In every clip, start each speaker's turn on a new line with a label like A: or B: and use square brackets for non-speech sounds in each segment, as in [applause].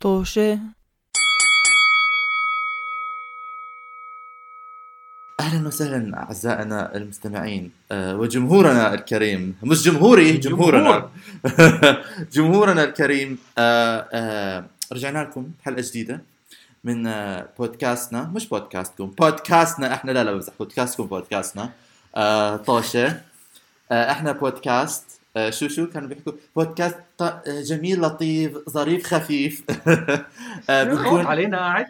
A: طوشة
B: اهلا وسهلا اعزائنا المستمعين آه، وجمهورنا الكريم مش جمهوري جمهورنا [laughs] جمهورنا الكريم آه، آه، رجعنا لكم بحلقه جديده من آه، بودكاستنا مش بودكاستكم بودكاستنا احنا لا لا بمزح بودكاستكم بودكاستنا آه، طوشه آه، احنا بودكاست آه، شو شو كانوا بيحكوا بودكاست ط- آه، جميل لطيف ظريف خفيف [laughs] آه،
C: بتكون
B: بنكون
C: علينا قاعد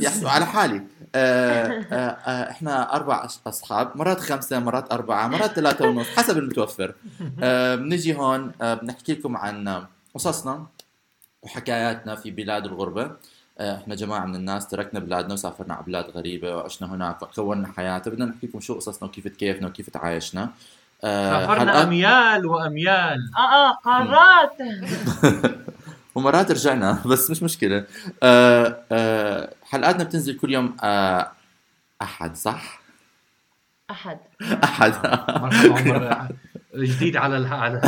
B: يحسب على حالي آه، آه، آه، احنا اربع أش- اصحاب مرات خمسه مرات اربعه مرات ثلاثه ونص حسب المتوفر آه، بنجي هون آه، بنحكي لكم عن قصصنا وحكاياتنا في بلاد الغربه آه، احنا جماعه من الناس تركنا بلادنا وسافرنا على بلاد غريبه وعشنا هناك وكونا حياه بدنا نحكي لكم شو قصصنا وكيف تكيفنا وكيف تعايشنا آه،
C: سافرنا
B: حلقات-
C: اميال
D: [laughs]
C: واميال
D: اه اه قارات
B: ومرات رجعنا [laughs] بس مش مشكله آه، آه، حلقاتنا بتنزل كل يوم آه، احد صح؟
D: احد
C: آه.
B: [laughs] احد
C: مرحبا عمر جديد على الح... على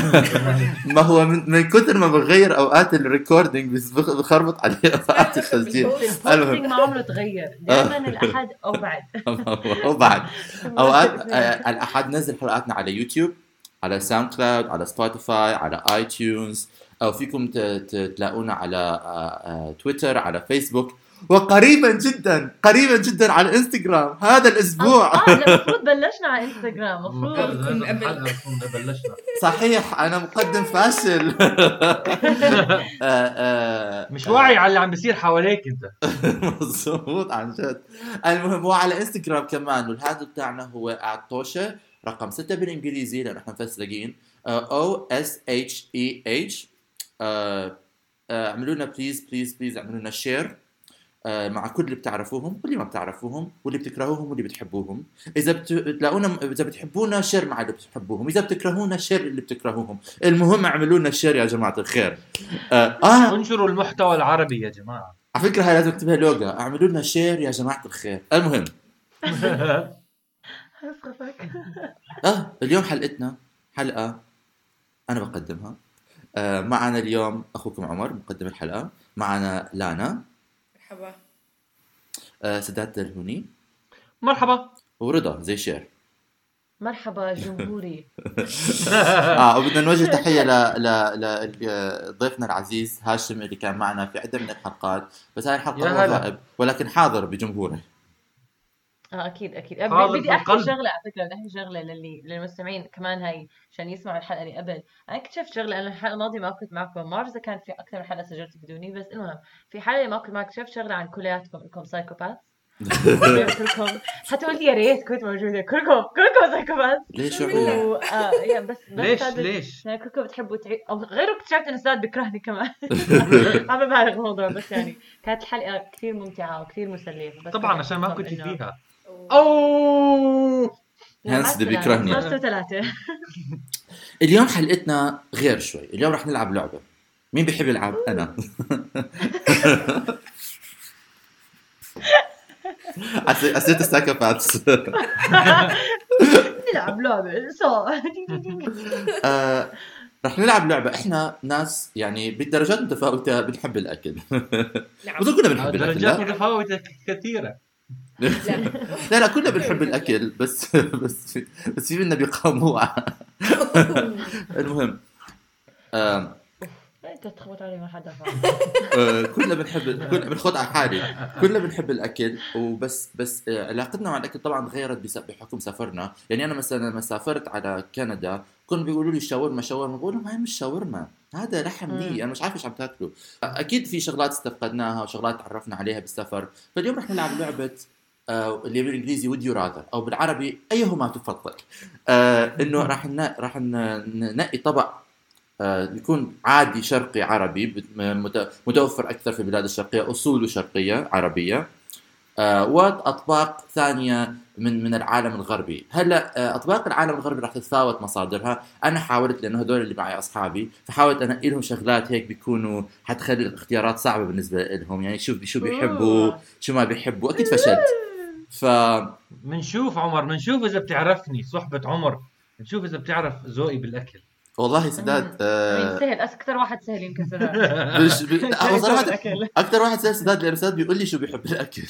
B: ما هو من, من كثر ما بغير اوقات الريكوردينج بس بخ- بخربط عليه [laughs] اوقات التسجيل [laughs]
D: [laughs]
B: المهم.
D: البوستنج ما عمره تغير دائما الاحد او بعد
B: وبعد
D: [laughs]
B: اوقات آه، الاحد نزل حلقاتنا على يوتيوب على ساوند كلاود على سبوتيفاي على اي تيونز او فيكم ت- ت- تلاقونا على آه، آه، تويتر على فيسبوك وقريبا جدا قريبا جدا على الانستغرام هذا الاسبوع
D: اه المفروض بلشنا على انستغرام
C: [laughs]
D: المفروض
C: المفروض الحلقة كنا بلشنا
B: صحيح انا مقدم فاشل [laughs] آه، آه،
C: مش واعي على اللي عم بيصير حواليك انت
B: مظبوط عن جد المهم وعلى انستغرام كمان والهاندل بتاعنا هو @توشه رقم 6 بالانجليزي لانه احنا مفسلقين او اس اتش اي اتش آه، اعملوا لنا بليز بليز بليز اعملوا لنا شير مع كل اللي بتعرفوهم واللي ما بتعرفوهم واللي بتكرهوهم واللي بتحبوهم اذا بت- بتلاقونا اذا بتحبونا شير مع اللي بتحبوهم اذا بتكرهونا شير اللي بتكرهوهم المهم اعملوا لنا شير يا جماعه الخير آه, اه
C: انشروا المحتوى العربي يا جماعه
B: على فكره هاي لازم اكتبها لوجا اعملوا لنا شير يا جماعه الخير المهم
D: اسقفك
B: اه اليوم حلقتنا حلقه انا بقدمها آه معنا اليوم اخوكم عمر مقدم الحلقه معنا لانا
E: مرحبا
B: آه سداد الهوني
C: [laughs] مرحبا
B: ورضا زي شير
D: مرحبا جمهوري
B: اه وبدنا نوجه تحيه ل ل ل- لضيفنا العزيز هاشم اللي كان معنا في عده من الحلقات بس هاي الحلقه
C: يا
B: هو
C: هلا.
B: غائب ولكن حاضر بجمهوره
D: اه اكيد اكيد
C: خالص
D: بدي
C: من
D: احكي
C: قلب.
D: شغله على فكره بدي احكي شغله للي للمستمعين كمان هاي عشان يسمعوا الحلقه اللي قبل انا اكتشفت شغله انا الحلقه الماضيه ما كنت معكم ما بعرف اذا كان في اكثر من حلقه سجلت بدوني بس المهم في حلقه ما كنت معك اكتشفت شغله عن كلياتكم انكم سايكوباث كلكم حتى قلت يا ريت كنت موجوده كلكم كلكم سايكوباث
B: ليش شو [laughs] عملنا؟
D: و... آه يا بس بس
C: ليش
D: هذا-
C: ليش
D: يعني كلكم بتحبوا تعيد او غيره اكتشفت انه سداد بيكرهني كمان [laughs] عم ببالغ الموضوع بس يعني كانت الحلقه كثير ممتعه وكثير مسليه بس
C: طبعا
D: بحب
C: عشان ما
D: أحكي
C: كنت
D: لكم إنه-
C: فيها
E: أو
C: اوه
B: هنس
D: لا،
B: اللي
D: ثلاثة،
B: بيكرهني.
D: خمسة وثلاثة
B: اليوم حلقتنا غير شوي اليوم رح نلعب لعبه مين بيحب يلعب انا أس- اسئله السايكوباث
D: نلعب لعبة سو [laughs]
B: آه، رح نلعب لعبه احنا ناس يعني بالدرجات متفاوته بنحب الاكل
E: نعم
B: بظن كلنا بنحب الاكل
C: آه، درجات
B: لا
C: متفاوتة كثيرة
E: لا
B: [laughs] لا, لا كلنا بنحب الاكل بس [laughs] بس في بس في منا بقموع المهم آه، آم،
D: إيه، انت تخبط علي ما حدا
B: آه، كلنا بنحب كلنا بنخوض على حالي كلنا بنحب الاكل وبس بس آه، علاقتنا مع الاكل طبعا تغيرت بس- بحكم سافرنا يعني انا مثلا لما سافرت على كندا كانوا بيقولوا لي شاورما شاورما بقول لهم هاي مش شاورما هذا لحم
D: مم.
B: ني انا مش عارف ايش عم تاكلوا اكيد في شغلات استفقدناها وشغلات تعرفنا عليها بالسفر فاليوم رح نلعب لعبه آه، اللي بالانجليزي would you rather او بالعربي ايهما تفضل آه انه راح ن- راح ن- ننقي طبق آه يكون عادي شرقي عربي بت- م- مت- متوفر اكثر في البلاد الشرقيه اصوله شرقيه عربيه آه واطباق ثانيه من من العالم الغربي هلا آه، اطباق العالم الغربي راح تتفاوت مصادرها انا حاولت لانه هدول اللي معي اصحابي فحاولت انقي لهم شغلات هيك بيكونوا حتخلي الاختيارات صعبه بالنسبه لهم يعني شوف [laughs] شو بيحبوا شو ما بيحبوا اكيد فشلت ف
C: [laughs] منشوف عمر منشوف اذا بتعرفني صحبة عمر نشوف اذا بتعرف ذوقي بالاكل
B: والله سداد
D: مين
B: آه،
D: سهل أس- اكثر واحد سهل يمكن [laughs] سداد
B: بش- ب- لا، هو صراحه
D: الأكل.
B: اكثر واحد سال سداد لانه سداد بيقول لي شو بيحب الاكل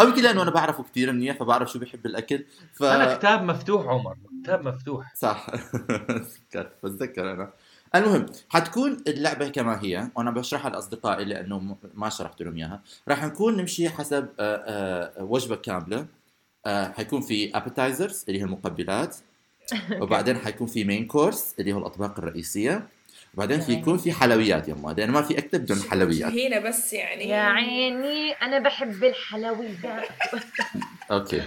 B: او يمكن لانه انا بعرفه كثير منيح فبعرف شو بيحب الاكل ف
C: انا كتاب مفتوح عمر كتاب مفتوح
B: صح [laughs] بتذكر بتذكر انا المهم حتكون اللعبة كما هي وأنا بشرحها لأصدقائي لأنه م- ما شرحت لهم إياها راح نكون نمشي حسب آه، آه، وجبة كاملة آه، حيكون في ابيتايزرز اللي هي المقبلات وبعدين حيكون في مين كورس اللي هو الأطباق الرئيسية وبعدين في
D: تمام.
B: يكون في حلويات يما لأنه ما في أكتب بدون حلويات
E: هنا بس يعني
D: يا عيني أنا بحب الحلويات
B: أوكي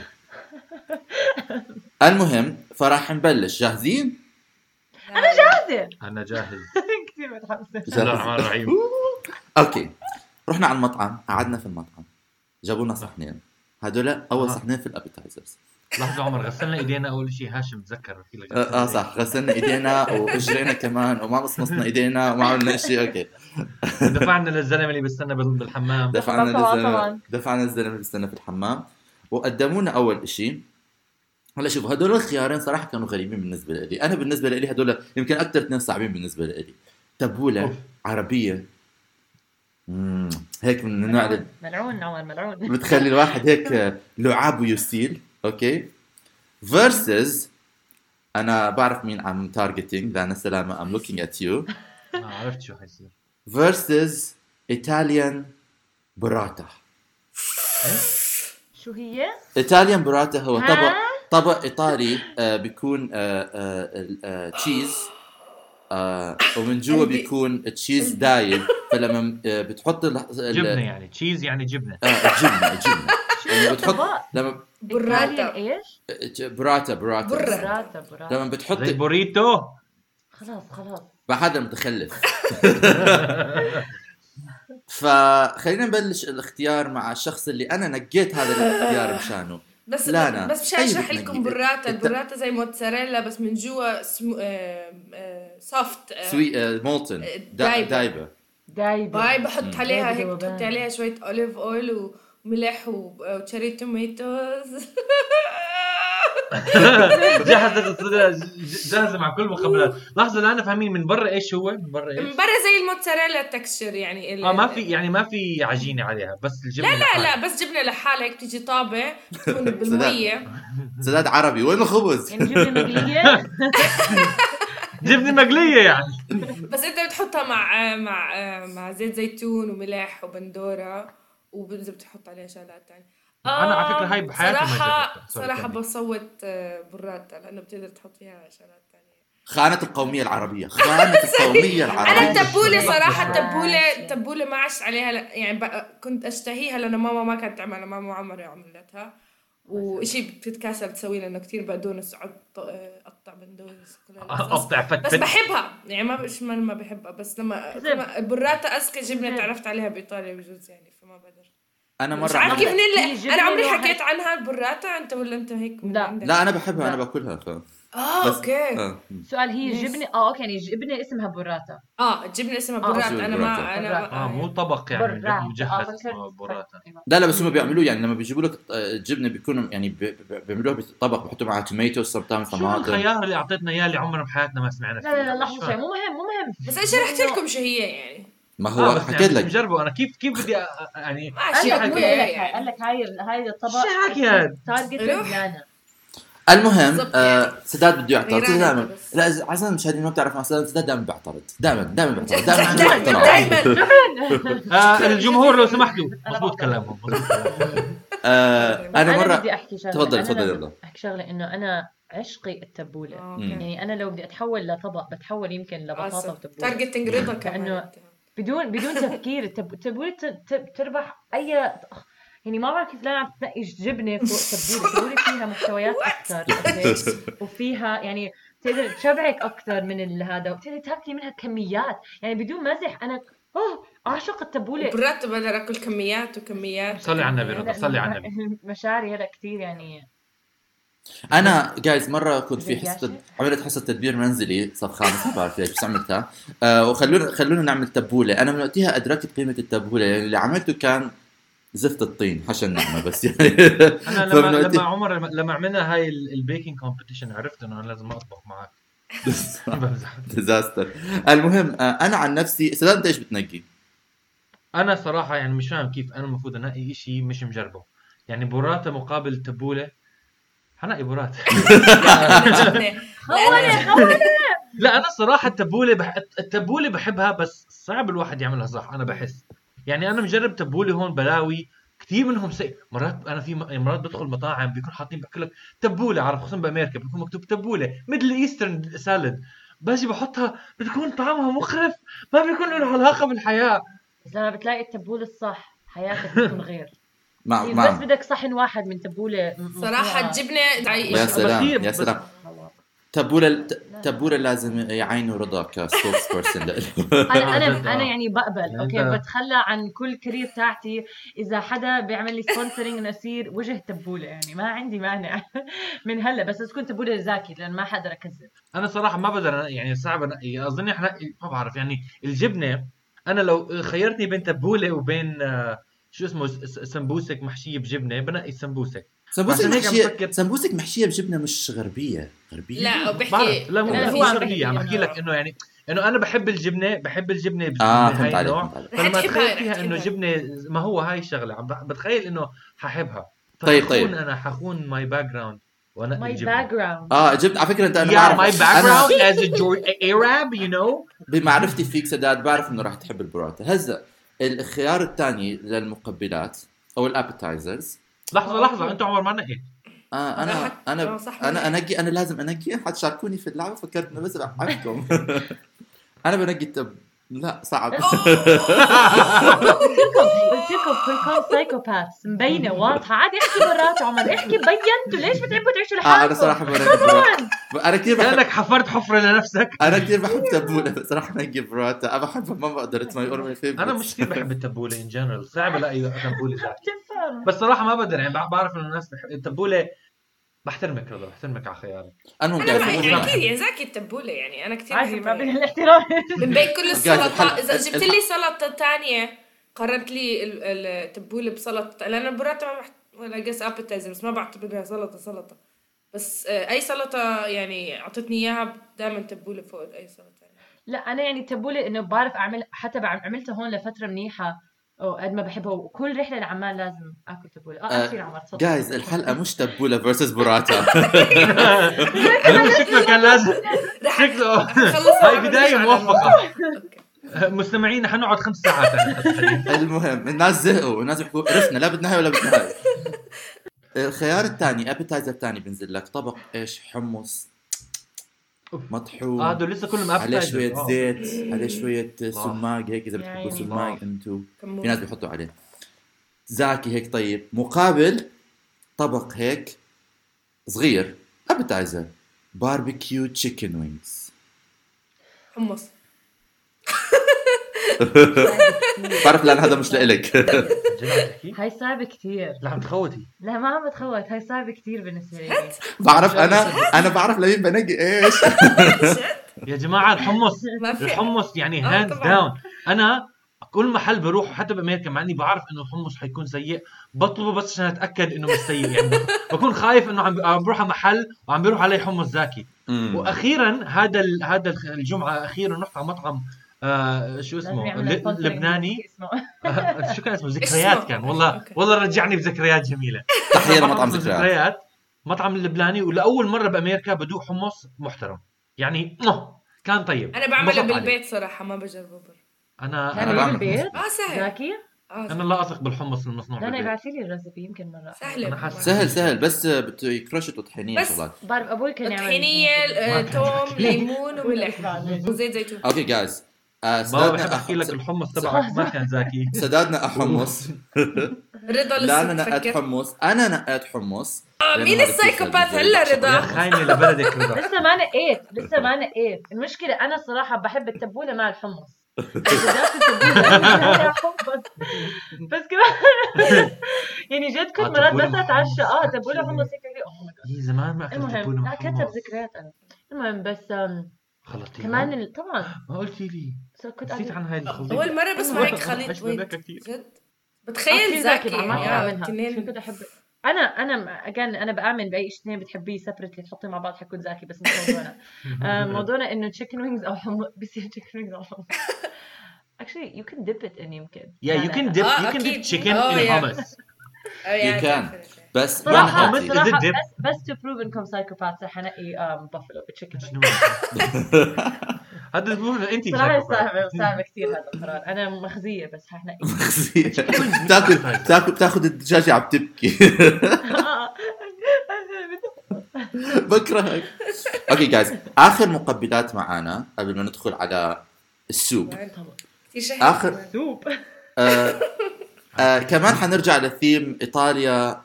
B: [laughs] المهم فراح نبلش جاهزين؟
E: انا
D: هذا
C: انا
B: [laughs]
C: جاهز
D: [laughs] كثير متحمسة
C: بسم الله الرحمن الرحيم
B: اوكي رحنا على المطعم قعدنا في المطعم جابوا لنا صحنين هدول اول
C: آه.
B: صحنين في الابيتايزرز
C: لحظه عمر غسلنا ايدينا اول شيء هاشم تذكر في لك
B: اه آه، صح غسلنا ايدينا واجرينا كمان وما مصمصنا ايدينا وما عملنا شيء اوكي
C: دفعنا للزلمه اللي بيستنى بال- بالحمام
B: دفعنا
D: طبعاً،
B: للزلمه
D: طبعاً.
B: دفعنا للزلمه اللي استنى في الحمام وقدمونا اول شيء هلا شوف هدول الخيارين صراحه كانوا غريبين بالنسبه لي انا بالنسبه لي هدول يمكن اكثر اثنين صعبين بالنسبه لي تبوله
C: أوف.
B: عربيه مم، هيك من النوع اللي
D: ملعون عمر ملعون
B: بتخلي الواحد هيك لعاب ويسيل اوكي فيرسز انا بعرف مين عم تارجتينج لان سلامه ام لوكينج ات يو
C: ما آه، عرفت شو حيصير
B: فيرسز ايطاليان براتا
D: شو هي؟
B: يعني ايطاليان براتا هو طبق
D: ها؟
B: طبق ايطالي آه بيكون آه آه آه تشيز آه ومن جوا
E: قلبي.
B: بيكون تشيز دايب فلما آه بتحط ال- ال-
C: جبنه يعني تشيز يعني جبنه
B: آه، الجبنه الجبنه
D: شو
B: لما
D: هي
B: بتحط
D: الطبق؟
B: لما آه،
D: إيطاليان
E: براتا
D: إيش؟
B: براتا براتا
E: برة.
D: براتا براتا
B: لما بتحط
C: زي بوريتو
D: خلاص خلاص
B: هذا
C: [laughs]
B: متخلف فخلينا نبلش الاختيار مع الشخص اللي انا نقيت هذا الاختيار مشانه
E: بس
B: لا طيب أنا.
E: بس مشان اشرح
B: أي
E: لكم
B: بتنقي.
E: براتا
B: الت-
E: البراتا زي موتزاريلا بس من جوا سمو... آه، آه، سوفت آه،
B: سوي مولتن
E: آه،
B: دا-
E: دايبة.
B: دايبة
D: دايبة
E: باي بحط عليها هيك
D: دايبة
E: بتحطي
D: وبان.
E: عليها شوية اوليف اويل وملح آه، وتشيري توميتوز
C: جاهزة جاهزة مع كل المقبلات لحظة لا أنا فاهمين من برا إيش هو من برا
E: من
C: إيش
E: برا زي الموتزاريلا التكشر يعني ال-
C: اه ما في يعني ما في عجينة عليها بس الجبنة
E: لا لا لا بس جبنة لحالها هيك بتيجي طابة
B: [laughs]
E: تكون بالمية
B: سداد عربي وين الخبز؟
D: يعني
B: [laughs]
D: جبنة مقلية
C: جبنة مقلية يعني
E: بس انت بتحطها مع آه، مع آه، مع زيت زيتون وملح وبندورة وبنزل بتحط عليها شغلات تانية
C: أنا على
E: آم،
C: فكرة هاي بحياتي ما جربتها.
E: صراحة
C: سوري،
E: صراحة
C: كمل.
E: بصوت آه، براتا لأنه بتقدر تحط فيها شغلات تانية
B: خانة القومية العربية
E: [laughs]
B: خانة القومية
E: انا
B: العربية
E: التبوله صراحه
D: ماشي.
E: التبوله التبوله ما عش عليها ل- يعني بقى كنت اشتهيها لانه ماما ما كانت تعملها ماما عمري عملتها وإشي بتتكاسل تسويه لانه كتير بقدونس عط- اقطع بندونس وكل هالقصص.
C: أقطع
E: بس
C: فتفت
E: بحبها يعني ما مش ما ما بحبها بس لما
D: كذب.
E: لما براتا اسكا جبنه
D: كذب.
E: تعرفت عليها بايطاليا بجوز يعني فما بقدر
B: أنا
E: مش
B: مرة
E: عارف كيف
B: عملت-
D: في
E: نل...
D: جبنة
E: انا عمري
D: الواحد-
E: حكيت عنها البراتا انت ولا انت هيك من
D: لا.
E: عندك؟
B: لا أنا بحبها أنا
D: لا.
B: باكلها ف...
E: اه
B: بس-
E: اوكي
B: آه.
D: سؤال هي
E: ليش؟
D: جبنة اه اوكي يعني جبنة اسمها براتا
E: اه الجبنه اسمها
D: آه.
E: براتا انا ما
B: براتا.
E: انا
C: اه مو طبق يعني
D: براتا
C: مجهز
D: آه،
C: اسمه
D: فكرت-
C: براتا
D: فكرت.
B: لا لا بس هم بيعملوه يعني لما بيجيبوا لك آه، الجبنة بيكونوا يعني بي- بي- بيعملوها بالطبق بيحطوا معها توميتو سم تايمز
C: شو
B: طماطم
C: الخيار اللي أعطيتنا إياه اللي عمرنا بحياتنا ما سمعنا
D: لا
C: فيه
D: لا لا
C: مش
D: لحظة شوي
C: فاهم.
D: مو مهم مو مهم
E: بس انا شرحت لكم شو هي يعني
B: ما
C: آه
B: هو
C: بس
B: حكيت
C: حكيت
B: لك
C: جربوا أنا كيف كيف بدي أ- أ- يعني
E: ماشي
D: قال لك
E: اوكي
D: قول لك هاي
E: يعني
D: قال لك هاي هاي الطبق
C: شو حكيت؟
D: تارجت
E: روح.
D: لبنان
B: المهم
E: بالضبط
B: آه سداد بده يعترض
E: غيرانة
B: سداد دائما
E: بس.
B: لا إذا- عشان المشاهدين ما بتعرف عن سداد سداد دائما بيعترض دائما دائما
E: [laughs]
B: بيعترض دائما عنده اعتراض.
E: دائما
C: آه الجمهور لو سمحتوا مضبوط كلامهم
B: [laughs]
C: مظبوط كلامهم.
B: آه انا مره
D: بدي احكي شغله
B: تفضل
D: أنا
B: تفضل
D: لو-
B: يلا
D: احكي شغله انه انا عشقي التبوله
E: آه.
B: مم.
D: يعني انا لو بدي اتحول لطبق بتحول يمكن لبطاطا وتبوله
E: تارجتنج رضا
D: لأنه-
E: كمان
D: بدون
E: [laughs]
D: بدون تفكير التب- التبوله ت- ت- تربح اي يعني ما بعرف كيف لنا عم تنقي جبنه فوق تبوله التبوله فيها محتويات اكثر
B: [laughs]
E: [laughs]
D: أوكي؟ وفيها يعني بتقدر تشبعك اكثر من ال- هذا وبتقدر تاكلي منها كميات يعني بدون مزح انا اوه اعشق التبوله
E: برات بقدر اكل كميات وكميات
C: صلي على النبي رضا صلي على النبي
D: مشاعري هلا كثير يعني
B: انا جايز مره كنت في
D: بدك
B: حصه
D: ياشي؟
B: عملت حصه تدبير منزلي صف خامس ما بعرف ليش بس عملتها آه وخلونا خلونا نعمل تبوله انا من وقتها ادركت قيمه التبوله يعني اللي عملته كان زفت الطين حشن نعمه بس يعني
C: انا
B: فمن
C: لما
B: وقتها- [laughs]
C: لما عمر لما عملنا هاي ال- البيكينج كومبيتيشن عرفت انه انا لازم اطبخ معك بمزح
B: ديزاستر المهم آه، انا عن نفسي سداد انت ايش بتنقي؟
C: انا صراحه يعني مش فاهم كيف انا المفروض انقي شيء مش مجربه يعني بوراتا مقابل تبوله حنقي بوراتا
D: هونة هونة
C: لا انا صراحه التبوله بح... التبوله بحبها بس صعب الواحد يعملها صح انا بحس يعني انا مجرب تبوله هون بلاوي كثير منهم سيء مرات انا في م- مرات بدخل مطاعم بيكون حاطين بحكي لك تبوله عارف خصوصا بامريكا بيكون مكتوب تبوله ميدل ايسترن سالد باجي بحطها بتكون طعمها مخرف ما بيكون له علاقه بالحياه
D: إذا أنا بتلاقي التبول الصح حياتك بتكون غير إيه،
B: مع
C: إيه،
D: بس
B: مع
D: بدك صحن واحد من تبولة م-
E: صراحه
D: مقطوعة.
E: تجيبني تعي
B: يا
C: بس-
B: سلام
C: بس هي-
B: يا
C: بس-
B: سلام
D: الله.
B: تبوله تبوله لازم يعينوا رضا كسبوكس
C: [laughs]
B: بيرسون
D: انا انا
C: جد، آه.
D: انا يعني بقبل
C: يعني
D: اوكي
C: أنت-
D: بتخلى عن كل كارير تاعتي اذا حدا بيعمل لي سبونسرنج انه اصير وجه تبوله يعني ما عندي مانع [laughs] من هلا بس تكون تبوله زاكي لان ما حقدر اكذب
C: انا صراحه ما بقدر أنا- يعني صعب أنا اظن احنا ما بعرف يعني الجبنه انا لو خيرتني بين تبوله وبين آه، شو اسمه س- س- سمبوسك محشيه بجبنه بنقي السمبوسه
B: سمبوسك
C: عشان هيك عم
B: محشيه
C: بفكر-
B: سمبوسك محشيه بجبنه مش غربيه غربيه
E: لا
C: بعرف
E: بحكي
C: لا مو
D: لا،
C: لا
D: في
C: هو عم
D: شغلة
C: بحكي عم بحكي
E: كثير
C: لك انه يعني انه انا بحب الجبنه بحب الجبنه بج-
B: اه
C: من
B: فهمت
C: هاي
B: عليك
C: النوع
B: فهمت عليك
C: فلما
E: رح تحبها،
C: اتخيل
E: رح
C: فيها انه
E: تحبها.
C: جبنه ما هو هاي الشغله عم بح- بتخيل انه ححبها
B: طيب، طيب.
C: فحكون انا حكون ماي باك جراوند وانا
D: ماي
C: الجبنه
D: باك
B: [laughs]
C: [laughs]
D: جراوند
B: اه جبت على فكره انت انا
C: Yeah, my
B: بعرف
C: background
B: انا
C: as a Geor- Arab, you know.
B: بمعرفتي فيك سداد بعرف انه راح تحب البراتا هسا الخيار الثاني للمقبلات او الابتايزرز
C: لحظة لحظة انتوا عمر ما إيه. نقيت
B: آه انا
E: راحت-
B: انا
E: آه، صح.
B: انا انقي انا لازم انقي حتشاركوني في اللعبه فكرت انه بس
E: [laughs]
B: بحبكم انا بنقي التب لا صعب آه،
D: قلت لكم كلكم سايكوباث
C: [laughs]
D: مبينه واضحه عادي احكي مرات عمر احكي بينتوا ليش بتحبوا تعيشوا لحالكم
B: اه انا صراحه بنقي
E: [laughs]
B: براتا انا كثير بحب
C: لانك حفرت حفرة لنفسك
B: انا كثير بحب تبوله بس راح انقي براتا انا بحبها ما بقدر ماي اور ماي فيفرت
C: انا مش كثير بحب التبولة ان جنرال صعب الاقي تبولة ذاتي
D: بتفهم
C: بس صراحة ما بقدر يعني بعرف انه الناس بح- التبولة بحترمك رضا بحترمك على خيارك
B: المهم
E: انا
B: قاعد
E: مع- يعني
B: أقول-
E: كثير يا زاكي التبوله يعني انا كثير
D: عادي ما بين
E: بحبها
D: الاحترام
C: [laughs]
E: من بين كل السلطه
B: الحل-
E: اذا جبت
B: الحل-
E: لي سلطه ثانيه قارنت لي ال- ال- التبوله بسلطه لان البراتا ما بحت... ولا جس ابيتايزر بس ما بعتبرها سلطه سلطه بس آه، اي سلطه يعني اعطتني اياها دائما تبوله فوق اي سلطه ثانيه
D: لا انا يعني تبوله انه بعرف اعمل حتى بعم- عملتها هون لفتره منيحه أو قد ما بحبها وكل رحله لعمان لازم اكل تبوله اه
B: آه،
D: كثير عمر تصدق
B: جايز الحلقه مش تبوله فيرسس براتا
C: شكله كان لازم شكله [laughs]
E: خلصنا
C: هاي بداية موفقة مستمعين حنقعد خمس
E: [laughs]
C: ساعات يعني.
B: المهم الناس زهقوا الناس بيحكوا عرفنا لا بدنا هاي ولا بدنا هاي الخيار الثاني ابيتايزر ثاني بنزل لك طبق ايش حمص مطحون
C: اه دول لسه كلهم
B: عليه
C: appetizers.
B: شوية
C: آه.
B: زيت عليه شوية سماق هيك إذا
D: يا
B: بتحبوا
D: عيني.
B: سماق
C: الله.
B: انتو في ناس بيحطوا عليه زاكي هيك طيب مقابل طبق هيك صغير ابيتايزر باربيكيو تشيكن وينجز [laughs]
E: حمص
B: بعرف لان هذا مش لإلك [laughs]
C: جد عم تحكي؟
D: هاي صعبة كتير
C: لا عم تخوتي
D: لا ما عم بتخوت هاي صعبة كتير بالنسبة لي
B: بعرف انا انا بعرف لمين بنقي ايش
C: يا جماعة
E: [laughs]
C: الحمص
E: ما في
C: الحمص يعني
E: آه،
C: هاندز
E: طبعاً.
C: داون انا كل محل بروح حتى بامريكا مع اني بعرف انه الحمص حيكون سيء بطلبه بس عشان اتاكد انه مش سيء يعني بكون خايف انه عم عم بروح على محل وعم بيروح علي حمص زاكي واخيرا هذا ال- هذا الخ- الجمعه اخيرا رحت على مطعم آه شو
D: لازم
C: اسمه
D: يعملوا
C: ل-
D: sponsoring
C: لبناني
D: بس [laughs] اسمه.
C: آه، شو كان اسمه
E: اسمه؟
C: ذكريات كان والله
E: أوكي.
C: والله رجعني بذكريات جميله
B: تحية
C: مطعم
B: لمطعم
C: اسمه
B: ذكريات
C: مطعم لبناني ولاول مره بامريكا بدوق حمص محترم يعني مه، كان طيب
E: انا
C: انبسطت
E: بعمله
C: عليه.
E: بالبيت صراحه ما بجربه برا
C: انا
D: تعمليه
C: انا
B: بعمل-
D: بالبيت
E: اه سهل
D: زاكي
E: اه
C: انا
E: سهل.
C: لا اثق بالحمص المصنوع
D: لا انا
C: بالبيت.
D: ابعتي لي الريسبي يمكن مرة
E: سهله
C: أنا حاسس-
B: سهل سهل بس بت- يكرشت وطحينية
E: بس-
B: شغلات
D: بعرف ابوي كان يعمل
E: طحينيه آه، توم
D: [laughs]
E: ليمون وملح وزيت زيتون
D: آه.
B: اوكي جايز
C: ما
B: آه،
C: بحب
B: سدادنا
C: احكي لك
B: أح-
C: الحمص تبعك ما كان زاكي
B: سدادنا أحمص
E: رضا
B: لا
E: لسه
B: أنا نقيت
E: بفكر
B: حمص أنا نقيت حمص
E: آه،
B: لأنه
E: مين
B: هذا
E: السايكوباث
B: كيف
E: هلا
B: الجلد.
E: رضا
C: خاينه لبلدك رضا
D: لسه ما نقيت لسه ما نقيت المشكلة أنا صراحة بحب التبولة
C: [laughs]
D: مع الحمص إذا جابت التبولة مع الحمص. بس كمان [laughs] يعني جد كنت
C: آه،
D: مرات
C: تبولة
D: بس
C: مع
D: اتعشى اه
C: الحمص.
D: تبولة حمص هيك هيك. Oh my God.
C: من زمان ما اكلت
D: المهم
C: تبوله
D: لا كتب
C: حمص
D: ذكريات انا المهم بس آم،
C: خلطتي
D: كمان
C: كمان
D: ال- طبعا
C: ما قلتي لي
D: so كنت
C: نسيت
D: قاعدة-
C: عن هاي الخلطه
E: اول مره بسمع هيك
C: عايش
E: خليط
C: بأمريكا
E: ويت
C: كتير.
E: جد
D: آه، كتير
E: بتخيل
D: زاكي
E: زاكي
D: عمري
E: يعني
D: ما
E: آه،
D: بعملها
E: تنين
D: عشان كنت احب انا انا اجان انا بامن باي شيء اثنين بتحبيه سبرتلي تحطيه مع بعض حيكون زاكي بس مش موضوعنا
C: [laughs]
D: آه، موضوعنا انه تشيكن وينجز او حمص [laughs] بصير تشيكن وينجز او حمص actually you can dip it in يمكن يعني
C: Yeah, you can dip,
E: آه،
C: you can dip
E: أكيد.
C: chicken
E: Oh,
C: in
E: yeah.
C: hummus.
E: Oh, yeah,
B: You can.
E: definitely.
B: بس
D: صراحة
C: Hummus is
B: [laughs] ما
C: it
D: صراحة
C: dip?
D: بس بس to prove انكم سايكوباث رح انقي بافلو
C: [laughs]
D: بتشيكن
C: شنو؟ هذا المهم انت
D: صراحة
C: شايفة.
D: يستاهل صعب كثير هذا القرار انا مخزية بس رح [laughs] انقي
B: بتاكل بتاكل بتاخذ الدجاجه عم تبكي [laughs] بكرهك اوكي جايز اخر مقبلات معانا قبل ما ندخل على السوق
E: في شهر
B: آخر.
E: كمان.
D: [laughs] سوب
B: آه آه كمان حنرجع للثيم ايطاليا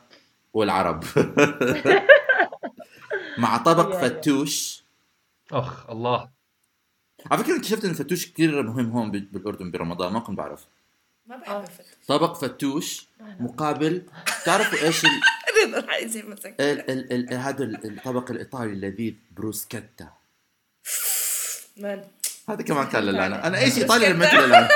B: والعرب [laughs] مع طبق
D: يا- يا.
B: فتوش
C: اخ الله
B: على فكره اكتشفت ان الفتوش كثير مهم هون بال- بالاردن برمضان ما كنت بعرف
E: ما
D: آه.
E: بحب الفتوش
B: طبق فتوش مقابل تعرفوا ايش ال-
E: راح زي ما سكت.
B: ال- ال- ال- هذا ال- الطبق الايطالي اللذيذ بروسكتا
E: مان
B: هذا كمان كان للعنة انا ايش ايطاليا
E: بروسكتا.
B: لميت للعنة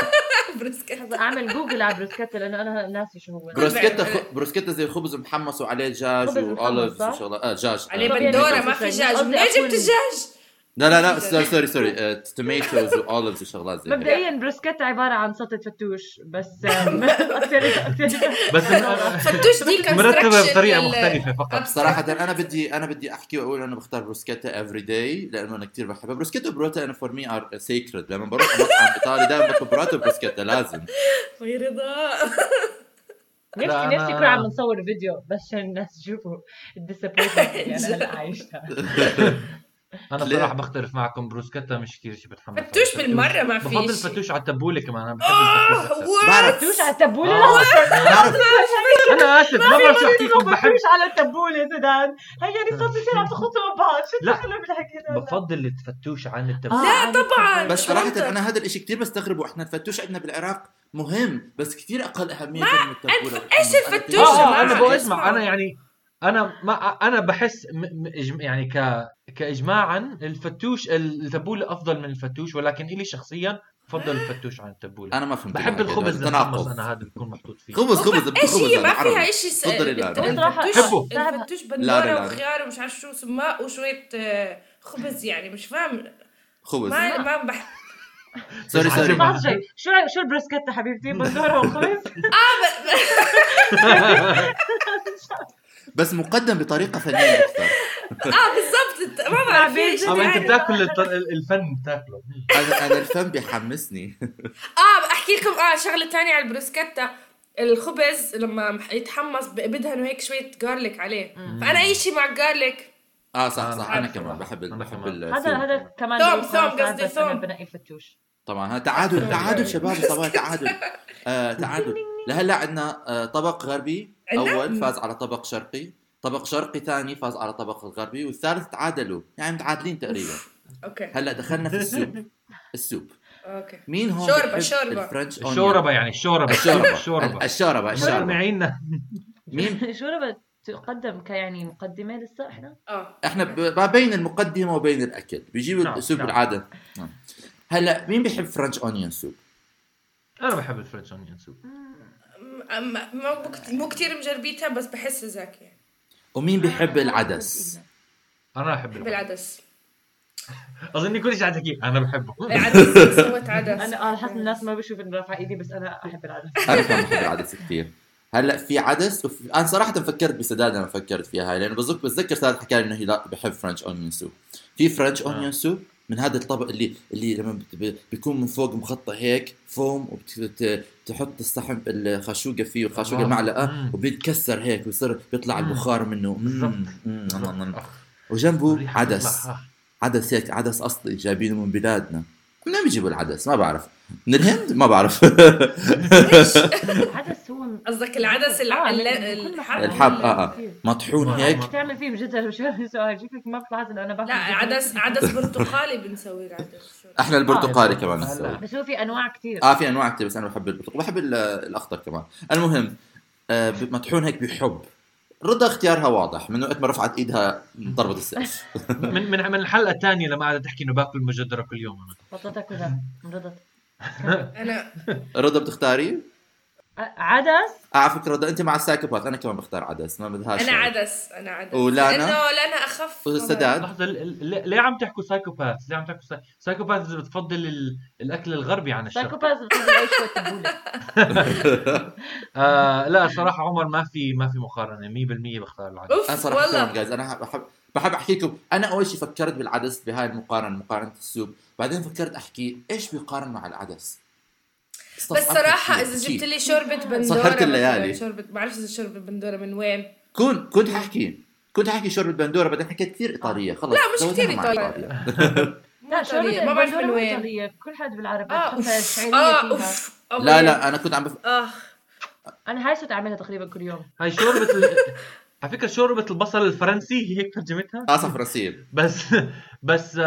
E: بروسكت
D: اعمل جوجل على بروسكيتا لانه انا ناسي شو هو
B: بروسكيتا
E: بعرف.
B: خ- بروسكيتا زي خبز محمص وعليه دجاج
D: خبز محمص،
B: واوليفز
D: صح؟
B: وشغله اه دجاج آه،
E: عليه
D: طب
B: بندورة.
D: يعني
E: بندوره ما في
D: قصدي-
E: دجاج
D: قصدي
E: من وين
D: أكون-
E: جبت دجاج؟
B: لا لا
E: [laughs]
B: لا سوري سوري آه، سوري توميتوز واوليفز وشغلات زي هيك.
D: مبدئيا بروسكيتا عبارة عن سلطة فتوش بس
C: [laughs]
D: آم، اكثر اكثر
C: بس
E: [laughs] فتوش دي
D: [laughs]
E: كان
C: مرتبه بطريقه مختلفه فقط
B: صراحة انا بدي انا بدي احكي واقول انا بختار بروسكيتا افري داي لانه انا كثير بحبها بروسكيتا وبروتا انا فور مي ار سيكريد لما بروح على مطعم ايطالي دائما بطلب بروتا وبروسكيتا
E: [laughs]
B: لازم
E: رضا
D: نفسي
C: لا،
D: نفسي
C: أنا-
D: يكون عم نصور فيديو بس عشان الناس يشوفوا الديسابوينتمنت اللي انا هلا عايشتها
C: انا
B: ليه؟
C: صراحه بختلف معكم بروسكتا مش كثير شيء بتحمس
E: فتوش بالمره ما في
C: بفضل
E: شيء.
C: فتوش على التبوله كمان انا بحب
E: آه،
C: الفتوش أكثر.
E: what?
B: بعرف
D: فتوش على التبولة لا
C: آه، بعرف. انا اسف ما بعرف شو احكي لكم بحب
D: بحبش على التبولة سداد هي يعني صرت كثير عم تخلطوا مع بعض شو
C: لا.
D: دخلوا بالحكي هذا؟
C: بفضل الفتوش عن التبوله
E: لا طبعا
B: بس
E: شو
B: صراحة
E: أنت؟
B: انا هذا الشيء كثير بستغربه احنا الفتوش عندنا بالعراق مهم بس كثير اقل اهمية من التبولة
E: أنت- إيش
B: والحمص. أنا
E: الفتوش
B: كثير
E: يا
C: اه
E: جماعة؟
C: آه، انا بقول
E: اسمعوا.
C: اسمع انا يعني انا ما انا بحس م- م- إجم- يعني ك كاجماعا الفتوش التبوله افضل من الفتوش ولكن الي شخصيا بفضل الفتوش عن التبوله
B: انا ما فهمت
C: بحب
B: الحكي هذا،
C: الخبز المحمص
B: تناقض
C: انا هذا بيكون محطوط فيه
B: خبز خبز
E: ايش
B: خبز
E: هي ما
B: بالعربي.
E: فيها شيء س-
B: تفضلي لا، لا.
E: الفتوش
C: حبه.
E: الفتوش
B: لا، لا، لا.
E: بندوره وخيار ومش عارف شو سماء وشويه آه، خبز يعني مش فاهم
B: خبز
E: ما ما بح...
B: سوري سوري
C: عشان-
D: لحظة شوي شو شو البروسكيتا
C: [laughs]
D: حبيبتي بندورة وخبز
B: بس مقدم بطريقه فنيه اكثر
E: اه بالضبط ما بعرف في شيء
C: اما انت
E: يعني.
C: آه، بتاكل الط- الفن بتاكله
B: انا انا الفن بيحمسني
E: اه بحكي لكم اه شغله تانية على البروسكيتا الخبز لما مح- يتحمص ب- بدهنوا هيك شويه جارليك عليه فانا اي شيء مع جارليك
B: اه صح صح انا
E: عارفة.
B: كمان بحب ال-
C: أنا
B: بحب
C: كمان.
B: ال-
D: هذا هذا كمان
E: ثوم،
D: بقول خلاص
E: ثوم، قصدي
D: بس أنا
E: ثوم.
D: بنقي الفتوش
B: طبعا هذا تعادل تعادل شباب طبعا تعادل آه تعادل لهلا عندنا آه طبق غربي
E: عنا؟
B: اول فاز على طبق شرقي طبق شرقي ثاني فاز على طبق الغربي والثالث تعادلوا يعني متعادلين تقريبا
E: اوكي
B: هلا دخلنا في السوب السوب
E: اوكي
B: مين هون
E: شوربة،
B: بيحب
E: شوربة.
B: الفرنش أونيون؟
C: الشوربه يعني الشوربه
B: الشوربه
C: الشوربه
B: الشوربه الشوربه
C: مستمعينا
B: مين
D: [laughs] شو ربط تقدم كيعني يعني مقدمة لسه احنا
E: اه
B: احنا ب- ما بين المقدمه وبين الاكل بيجيبوا
C: نعم،
B: السوب
C: نعم.
B: بالعاده نعم. هلا مين بيحب فرنش اونيون سوب؟
C: انا بحب الفرنش اونيون سوب
E: م- م- ما مو كت- مو كتير مجربيتها بس بحسها زاكية يعني
B: ومين بيحب العدس؟
C: انا احب
E: بحب
C: العدس
E: العدس
C: اظني كل شيء عم تحكيه انا بحبه
E: العدس سوت عدس
D: انا على حسب آه، الناس ما بشوف انه رافعه ايدي بس انا
C: [laughs]
D: احب العدس
B: انا كمان بحب العدس كثير هلا في عدس وفي... انا صراحه فكرت بسداد لما فكرت فيها هاي لانه بزك بتذكر سداد حكى لي انه هي لا بحب فرنش اونيون سوب في فرنش
C: آه.
B: اونيون سوب من هذا الطبق اللي اللي لما بت- ب- بيكون من فوق مخطى هيك فوم وبتحط الصحن الخاشوقه فيه والخاشوقه
C: الله.
B: معلقه
C: آه. مم.
B: وبيتكسر هيك ويصير بيطلع
C: مم.
B: البخار منه مم.
C: بالضبط.
B: مم. مم. مم.
C: أخ،
B: وجنبه
C: الريحة
B: عدس
C: بتطلع. آه.
B: عدس هيك عدس اصلي جايبينه من بلادنا من وين بيجيبوا العدس ما بعرف من الهند ما
C: [laughs]
B: بعرف
D: العدس هو
E: قصدك العدس الع-
D: آه،
E: الل-
D: من كل
E: الحب
D: محل.
B: [laughs] الحب اه اه مطحون
C: ما-
B: هيك
C: ما-
D: بتعمل فيه بجد شو سؤال شكلك ما بتلاحظ انه انا باكل
E: لا عدس عدس برتقالي بنسوي العدس شو-
B: احنا البرتقالي
C: آه،
B: كمان
C: هلا.
B: نسوي
D: بس هو في انواع
C: آه.
D: كثير
B: اه في انواع كثير بس انا بحب البرتقال بحب ال- الاخضر كمان المهم آه ب- مطحون هيك بحب رضا اختيارها واضح من وقت ما رفعت ايدها ضربت السقف
C: من من من الحلقه الثانيه لما قعدت تحكي انه باكل مجدره كل يوم انا
D: بطلت اكلها انرضت
E: انا
B: رضا بتختاري
D: آه،
B: آه،
D: عدس
B: على فكره رضا انت مع السايكوباث انا كمان بختار عدس ما بدهاش
E: انا عدس انا عدس
B: ولانا؟
E: لانه لانا اخف
B: والسداد؟
C: لحظه ال- ال- ليه- ليه عم تحكوا سايكوباث؟ ليه عم تحكوا ساي- سايكوباث بتفضل ال- الاكل الغربي عن الشرق؟
D: سايكوباث بتقدر يعيش شوية تبولة
C: آه لا صراحه عمر ما في ما في مقارنه 100% بختار العدس
E: اوف
B: انا صراحه
E: والله
B: كمان جايز انا بحب بحب احكي لكم انا اول شيء فكرت بالعدس بهاي المقارنه مقارنه السوب بعدين فكرت احكي ايش بيقارن مع العدس
E: بس
B: استصعبت
E: صراحه
B: كثير، يعني.
E: اذا
B: كثير.
E: جبت لي شوربه بندوره
B: سهرت
E: مثلاً،
B: الليالي.
E: شوربه بعرفش اذا شوربه بندوره من وين
B: كنت كنت حاحكي كنت حاحكي شوربة بندورة بعدين حكيت كثير ايطالية خلص
E: لا، مش
B: زودناها
E: كثير
B: مع
E: إيطالية.
D: لا شوربة
E: ما بعرف من وين
D: وين كل حد بالعربية
E: اه
D: تحطها
E: اوف
D: شعيرية
E: اه
D: فيها
E: اوف أوه.
B: لا لا انا كنت عم بف...
E: اه
D: أنا هاي صرت أعملها تقريبا كل يوم
C: هاي شوربه ال... على فكره شوربه البصل الفرنسي هيك ترجمتها
B: اه فرنسية
C: بس بس آه،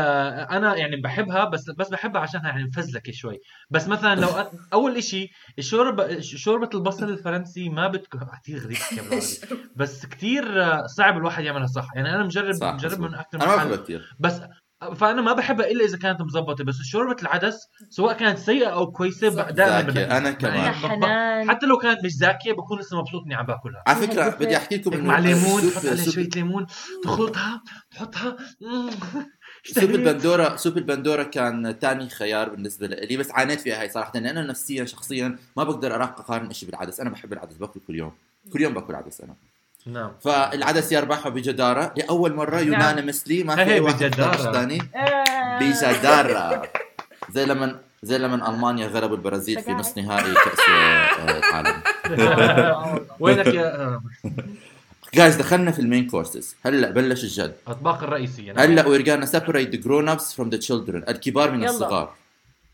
C: انا يعني بحبها بس بس بحبها عشانها يعني مفزلكه شوي بس مثلا لو أ- اول إشي الشوربه شوربه البصل الفرنسي ما بتكون كثير غريب أحكي بالعربي. بس كثير آه، صعب الواحد يعملها صح يعني انا مجرب
B: صح،
C: مجرب
B: مظبوط.
C: من اكثر من
B: انا ما
C: محل
B: بحبها كثير
C: بس فانا ما بحبها الا اذا كانت مزبطه بس شوربه العدس سواء كانت سيئه او كويسه
E: صح.
C: ب- دائما
B: زاكية،
C: بحبها.
B: أنا كمان.
C: يعني
D: يا
C: ب- ب-
D: حنان
C: حتى لو كانت مش زاكيه بكون لسه مبسوط اني عم باكلها
B: على فكرة
D: هيك
B: بدي احكي لكم
C: هيك
B: إنه
C: مع ليمون
B: السوب-
C: تحط عليها
B: سوب-
C: شويه ليمون تخلطها تحطها مم.
B: سوب البندورة سوب البندورة كان تاني خيار بالنسبة لي بس عانيت فيها هاي صراحة لأن أنا نفسيا شخصيا ما بقدر أراق أقارن إشي بالعدس أنا بحب العدس باكل كل يوم كل يوم باكل عدس أنا
C: نعم
B: فالعدس يربحها بجدارة لأول مرة
D: نعم.
B: يونانيمسلي ما في
C: هي
B: أي واحد
C: بجدارة.
B: اختار ثاني
D: آه.
B: بجدارة زي لما زي لما المانيا غلبوا البرازيل في نصف نهائي كاس آه، العالم
D: آه، والله.
C: [laughs] وينك يا آه،
B: جايز دخلنا في المين كورسز هلا بلش الجد
C: الاطباق الرئيسيه نعم
B: هلا وير gonna separate the grown ups from the children الكبار من
D: يلا.
B: الصغار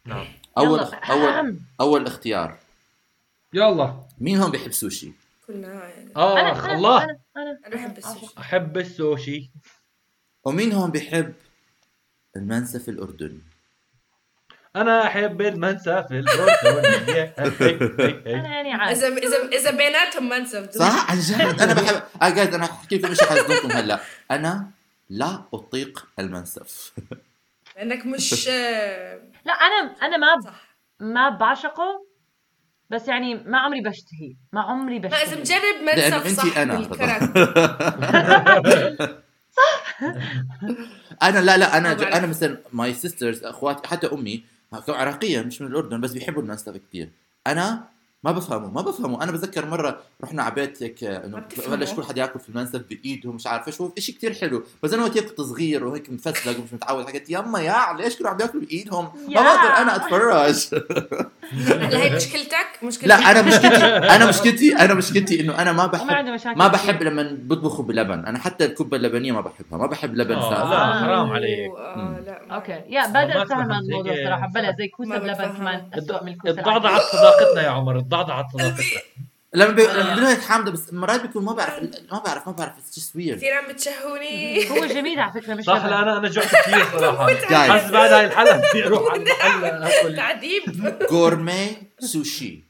C: نعم
B: اول
D: يلا.
B: اول
D: أهم.
B: اول اختيار
C: يلا
B: مين هون بيحب سوشي
E: كلنا يعني
D: أنا-
C: اه
D: أنا-
C: الله
D: أنا- أنا
E: انا احب السوشي
C: احب السوشي
B: ومين هون بيحب المنسف الاردني
C: انا احب المنسى في
D: [laughs]
C: الاردن إيه.
D: أنا يعني عارف
E: اذا اذا اذا بيناتهم منسف
B: صح عن جد انا بحب آه جايز انا احكي لكم شيء حيصدمكم هلا انا لا اطيق المنسف
E: لانك
B: [laughs]
E: مش آه،
D: لا أنا أنا ما
E: صح
D: ما بعشقه بس يعني ما عمري بشتهي ما عمري
E: ما اذا
D: بشتهي
E: مجرب
B: لأنه
E: منسف
B: أنتي
E: صح
B: أنا. [laughs]
E: بالكرك
B: انا لا لا
E: ما
B: انا ج...
E: بعرف.
B: انا مثلا ماي سيسترز اخواتي حتى امي عراقيه مش من الاردن بس بيحبوا المنسف كثير انا ما بفهمه ما بفهمه انا بتذكر مره رحنا على بيت هيك آه،
E: ما
B: انه
E: بتفهمه.
B: بلش كل حد ياكل في المنسف بايده مش عارف ايش هو شيء كثير حلو بس انا وقت هيك كنت صغير وهيك مفزلق ومش متعود حكيت يما يا ليش كانوا عم ياكلوا بايدهم ما
D: يا.
B: بقدر انا
E: [laughs]
B: اتفرج
E: هلا هي مشكلتك مشكلتك
B: لا
E: [laughs]
B: انا مشكلتي انا مشكلتي انا مشكلتي انه انا ما
D: ما
B: بحب
D: عندي مشاكل
B: ما بحب
D: كتير.
B: لما بيطبخوا بلبن انا حتى الكبه اللبنيه ما بحبها ما بحب لبن
C: آه،
B: ساخن
C: لا، حرام عليك.
E: آه، لا ما-
D: اوكي يا
C: ما
D: بدأ
C: بفهم
D: فهم الموضوع
C: هيك.
D: صراحة بلا زي
E: ما
D: كوسة بلبن
E: بفهم.
D: كمان أسوأ من الكوسة
C: الضعضعت صداقتنا يا عمر الضعضعت صداقتنا
B: لما بي... لما بدون هيك حامضه بس مرات بيكون ما بعرف ما بعرف ما بعرف اتس جست ويرد
E: كثير عم بتشهوني
D: [laughs] العادية. هو جميل على فكرة مش
C: صح
D: لبن.
C: لا انا انا جوعت كثير
E: [laughs]
C: صراحه
B: جايز
C: [laughs] حس بعد هاي الحلقه بدي اروح على المحل آكل.
E: تعذيب
B: غورمي سوشي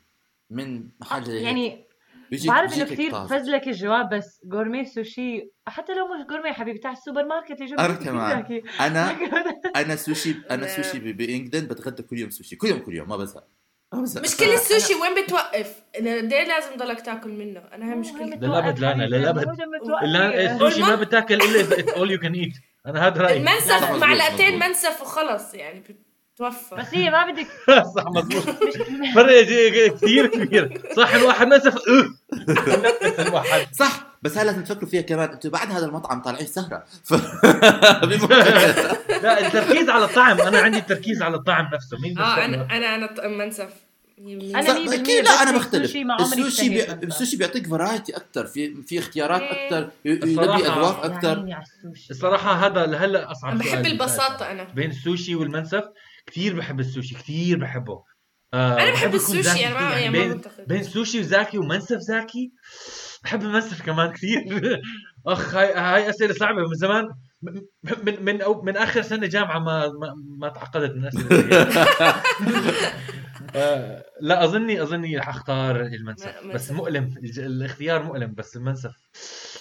B: من محل زي هيك.
D: يعني
B: بيجيك-
D: بعرف انه
B: بيجيك هيك
D: كثير
B: طازة.
D: فزلك الجواب بس غورمي سوشي حتى لو مش غورمي حبيبي تاع السوبر ماركت اللي جنبك
B: أنا كمان.
D: [laughs] بيزاكي.
B: انا انا سوشي انا
E: لا.
B: سوشي ب- بانجلند بتغدى كل يوم سوشي كل يوم كل يوم ما بزهق ما بزهق
E: مشكلة السوشي وين بتوقف؟ أنا ليه لازم ضلك تاكل منه؟ أنا هاي مشكلتي
C: للأبد لا، أنا للأبد. لا السوشي ما بتاكل الا اذا it's all you can eat انا هذا رايي
E: المنسف
B: مظبوط،
E: معلقتين
B: مظبوط.
E: منسف وخلص يعني بتوفى
D: بس هي ما بدك
C: [laughs] صح مضبوط
D: [laughs]
C: فرق ج- كثير كبير صح الواحد منسف أه. نفس الواحد
B: صح بس هلا لازم تفكروا فيها كمان انتوا بعد هذا المطعم طالعين سهره [laughs] ف
C: لا التركيز على الطعم انا عندي التركيز على الطعم نفسه مين
E: اه
C: بيستعمل؟
E: أنا أنا أنا ط- منسف
D: أنا
E: صح.
D: مية بالمية
B: أكيد لا انا
D: بشتري
B: بختلف
D: سوشي مع عمري
B: السوشي
D: كتير
B: بي...
D: بس.
B: السوشي بيعطيك فرايتي اكثر في في اختيارات
E: مم.
B: اكثر يلبي
C: الصراحة.
B: اذواق اكثر
D: يعني على السوشي
C: الصراحه هذا لهلا اصعب
E: أنا
C: سؤال
E: بحب البساطة أنا
C: بين السوشي والمنسف كثير بحب السوشي كثير بحبه آه،
E: أنا بحب السوشي أنا ما يعني ما
C: بين
E: بنتقد
C: بين سوشي وزاكي ومنسف زاكي بحب المنسف كمان [laughs] كثير اخ هاي هاي اسئله صعبه من زمان من من من, أو من اخر سنه جامعه ما ما, ما تعقدت من اسئله
E: [laughs]
C: آه، لا اظني اظني حختار المنسف
E: م-
C: بس
E: منسف.
C: مؤلم الج- الاختيار مؤلم بس المنسف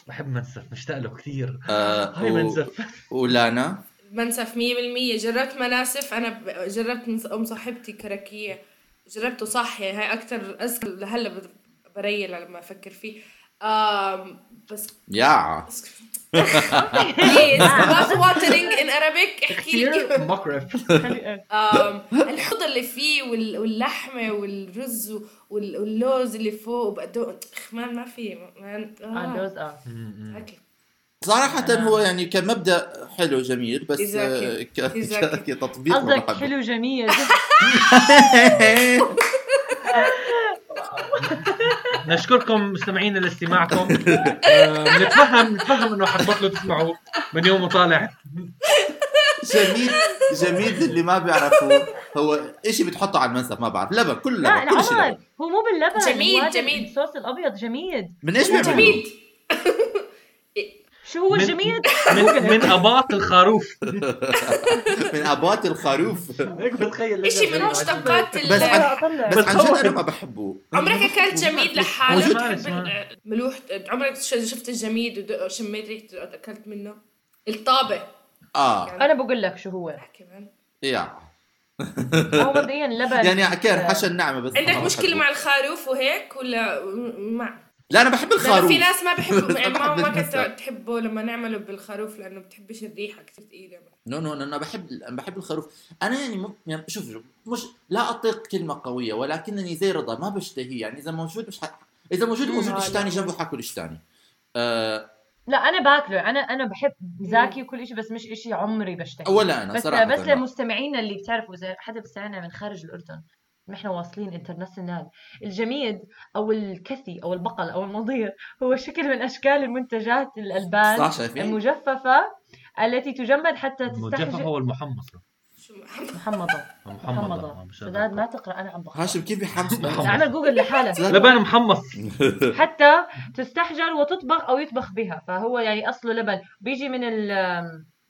C: بحب منسف مشتاق له كثير
B: آه،
C: هاي
B: و-
C: منسف
B: ولانا
E: منسف 100% جربت مناسف أنا ب- جربت من ص- أم صاحبتي كركية جربته صح يعني هاي اكثر اذكر لهلا بت- بريل لما افكر فيه آم بس
B: يا
E: Please, mouth watering in Arabic احكي لي
C: كثير [laughs] مقرف
E: [laughs]
D: آه،
E: آم، الحوض اللي فيه وال- واللحمه والرز و- وال- واللوز اللي فوق وبقدونس إخ، ما ما في ما آه.
D: دوز ار
E: أكل.
B: صراحة هو يعني كمبدأ حلو جميل بس
E: إذاكي.
B: آه، ك-
E: إذاكي.
B: ك- [laughs] كتطبيق ما
D: قصدك
B: بحبه.
D: حلو جميل
C: نشكركم مستمعينا لاستماعكم آه، نتفهم نتفهم انه حتبطلوا تسمعوا من يوم وطالع
B: [laughs] جميل جميل اللي ما بيعرفوه هو شيء بتحطه على المنسف ما بعرف لبن كل
D: لا
B: لبن كل شيء
D: العمر
B: لبن
D: هو مو باللبن
E: جميد،
D: هو هذا
E: جميد.
D: الصوص الابيض جميد
B: من ايش بيعملوه؟
E: جميل
D: شو هو
C: من-
D: الجميد؟
C: من من اباط الخروف
B: من ابات الخروف
C: هيك بتخيل
E: شيء من مشتقات
B: بس
E: ال-
B: عن,
D: اطلع
B: بس عن جد انا ما بحبه
E: عمرك اكلت جميد
C: موجود.
E: لحاله؟ بتحب
C: اسمع.
E: ال- ملوح عمرك ش- شفت الجميد ودق- شميت ريحته اكلت منه؟ الطابه
B: اه
D: انا بقول لك شو هو
E: كمان
B: يا
D: هو مبدئيا
B: [laughs]
D: لبن
B: يعني كان حشا النعمه بس
E: عندك
B: ما
E: مشكله
B: بحبه.
E: مع الخروف وهيك ولا م- مع
B: لا انا بحب
E: لانه
B: الخروف
E: في ناس ما بحبوا يعني ما
B: بحب
E: ما كنت
B: المسلق.
E: تحبه لما نعمله بالخروف لانه بتحبش الريحه كثير ثقيله
B: نو نو نو انا بحب انا بحب الخروف انا يعني, مم... يعني شوف شوف، مش لا اطيق كلمه قويه ولكنني زي رضا ما بشتهي يعني اذا موجود مش ح... اذا موجود موجود
E: هذا
B: ايش ثاني جنبه حاكل ايش ثاني آه
D: لا انا باكله انا انا بحب زاكي وكل شيء بس مش شيء عمري بشتهي
B: ولا انا
D: بس
B: صراحه
D: بس
B: لا.
D: لمستمعينا اللي بتعرفوا اذا حدا بيستمعنا من خارج الاردن نحن واصلين انترناسيونال الجميد او الكثي او البقل او المضير هو شكل من اشكال المنتجات الالبان
B: صح شايفين
D: المجففه التي تجمد حتى
C: المجففه
D: تستحجر
C: والمحمصه
E: شو ما- [laughs]
D: محمضه
C: محمضه
D: محمضه
C: مش
D: سداد ما
C: عارف.
D: تقرا انا عم بقرا
B: هاشم كيف [laughs] بحمس
D: اعمل جوجل لحالك
C: لبن محمص
D: حتى تستحجر وتطبخ او يطبخ بها فهو يعني اصله لبن بيجي من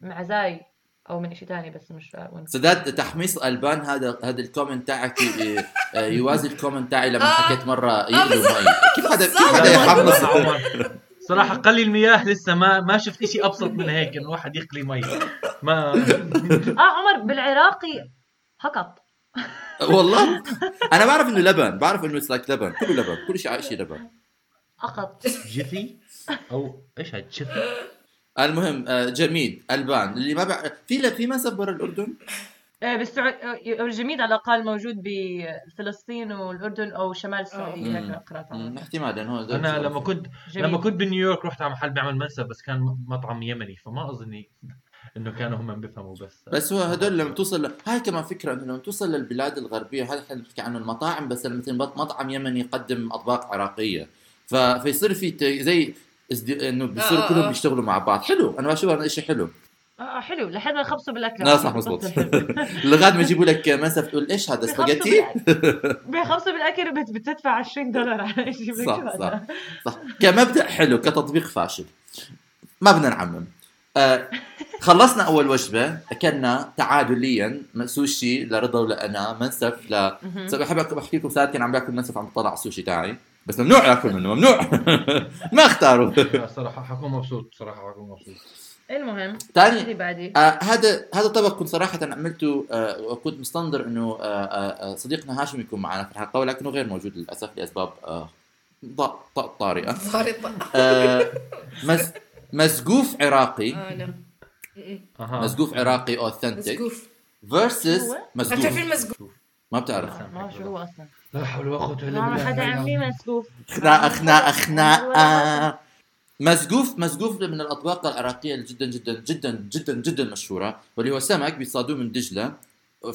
D: المعزاي او من شيء ثاني بس مش وين
B: [laughs] سداد تحميص البان هذا هذا الكومنت تاعك ي- آه، يوازي الكومنت تاعي لما حكيت مره يقلوا مي كيف هذا كيف هذا
C: لا، لا،
B: يحمص
C: لا، عمر. صراحة قلي المياه لسه ما ما شفت شيء ابسط من هيك انه واحد يقلي مي ما
D: اه عمر بالعراقي هقط
B: والله انا بعرف انه لبن بعرف انه سلاك لبن كله لبن كل شيء شيء لبن
D: اقط
C: جثي او ايش هاد جثي
B: المهم آه، جميل البان اللي ما بع... في لا في منسف برا الاردن
D: آه، بالسعود آه، الجميد على الاقل موجود بفلسطين والاردن او شمال السعوديه
B: آه.
D: هيك قرات
B: مم،
D: عنه.
B: احتمالا هو ده
C: انا
B: السؤال.
C: لما كنت
D: جميل.
C: لما كنت بنيويورك رحت على محل بيعمل منسف بس كان مطعم يمني فما اظني انه كانوا هم بيفهموا بس
B: بس هو هدول لما توصل ل... هاي كمان فكره انه لما توصل للبلاد الغربيه هذا احنا بنحكي عنه المطاعم بس لما مثلا مطعم يمني يقدم اطباق عراقيه ف... فيصير في ت... زي ازد... انه
E: آه،
B: بيصير
E: آه،
B: كلهم
E: آه.
B: بيشتغلوا مع بعض حلو انا بشوف هذا شيء حلو
D: اه آه، حلو لحد ما يخبصوا بالاكل
B: لا صح
E: [laughs]
B: مزبوط [laughs] لغايه ما يجيبوا لك منسف تقول ايش هذا سباجيتي [laughs]
D: بخمسة بالاكل بت- بتدفع 20 دولار على شيء
B: صح صح صح كمبدا حلو كتطبيق فاشل ما بدنا نعمم آه خلصنا اول وجبه اكلنا تعادليا سوشي لرضا ولانا منسف ل بس بحب أك- بحكي لكم ساعات كان عم باكل منسف عم بطلع السوشي تاعي بس ممنوع اكل منه ممنوع [laughs] ما اختاروا
C: [laughs] لا، صراحة حكون مبسوط صراحة حكون مبسوط
D: المهم اللي
B: ثاني
D: بعدي
B: آه، هذا هذا طبق كنت صراحه عملته آه، وكنت مستنظر انه آه، آه، آه، صديقنا هاشم يكون معنا في الحلقه ولكنه غير موجود للاسف لاسباب آه، ط- ط- طارئه
E: خارطه
B: آه، مس مسقوف عراقي
E: اه نعم م-م.
C: اها
B: مسقوف عراقي اوثنتيك
E: مسقوف
B: فيرسز
D: هو؟
E: ما بتعرفي
B: مسقوف
E: المسقوف
B: ما بتعرف
D: ما بعرف شو هو اصلا
C: لا حول ولا قوة الا
D: ما حدا عم
C: بالله
D: مسقوف
B: خناقه خناقه خناقه مسقوف مسقوف من الاطباق العراقيه اللي جدا جدا جدا جدا جدا مشهوره واللي هو سمك بيصادوه من دجله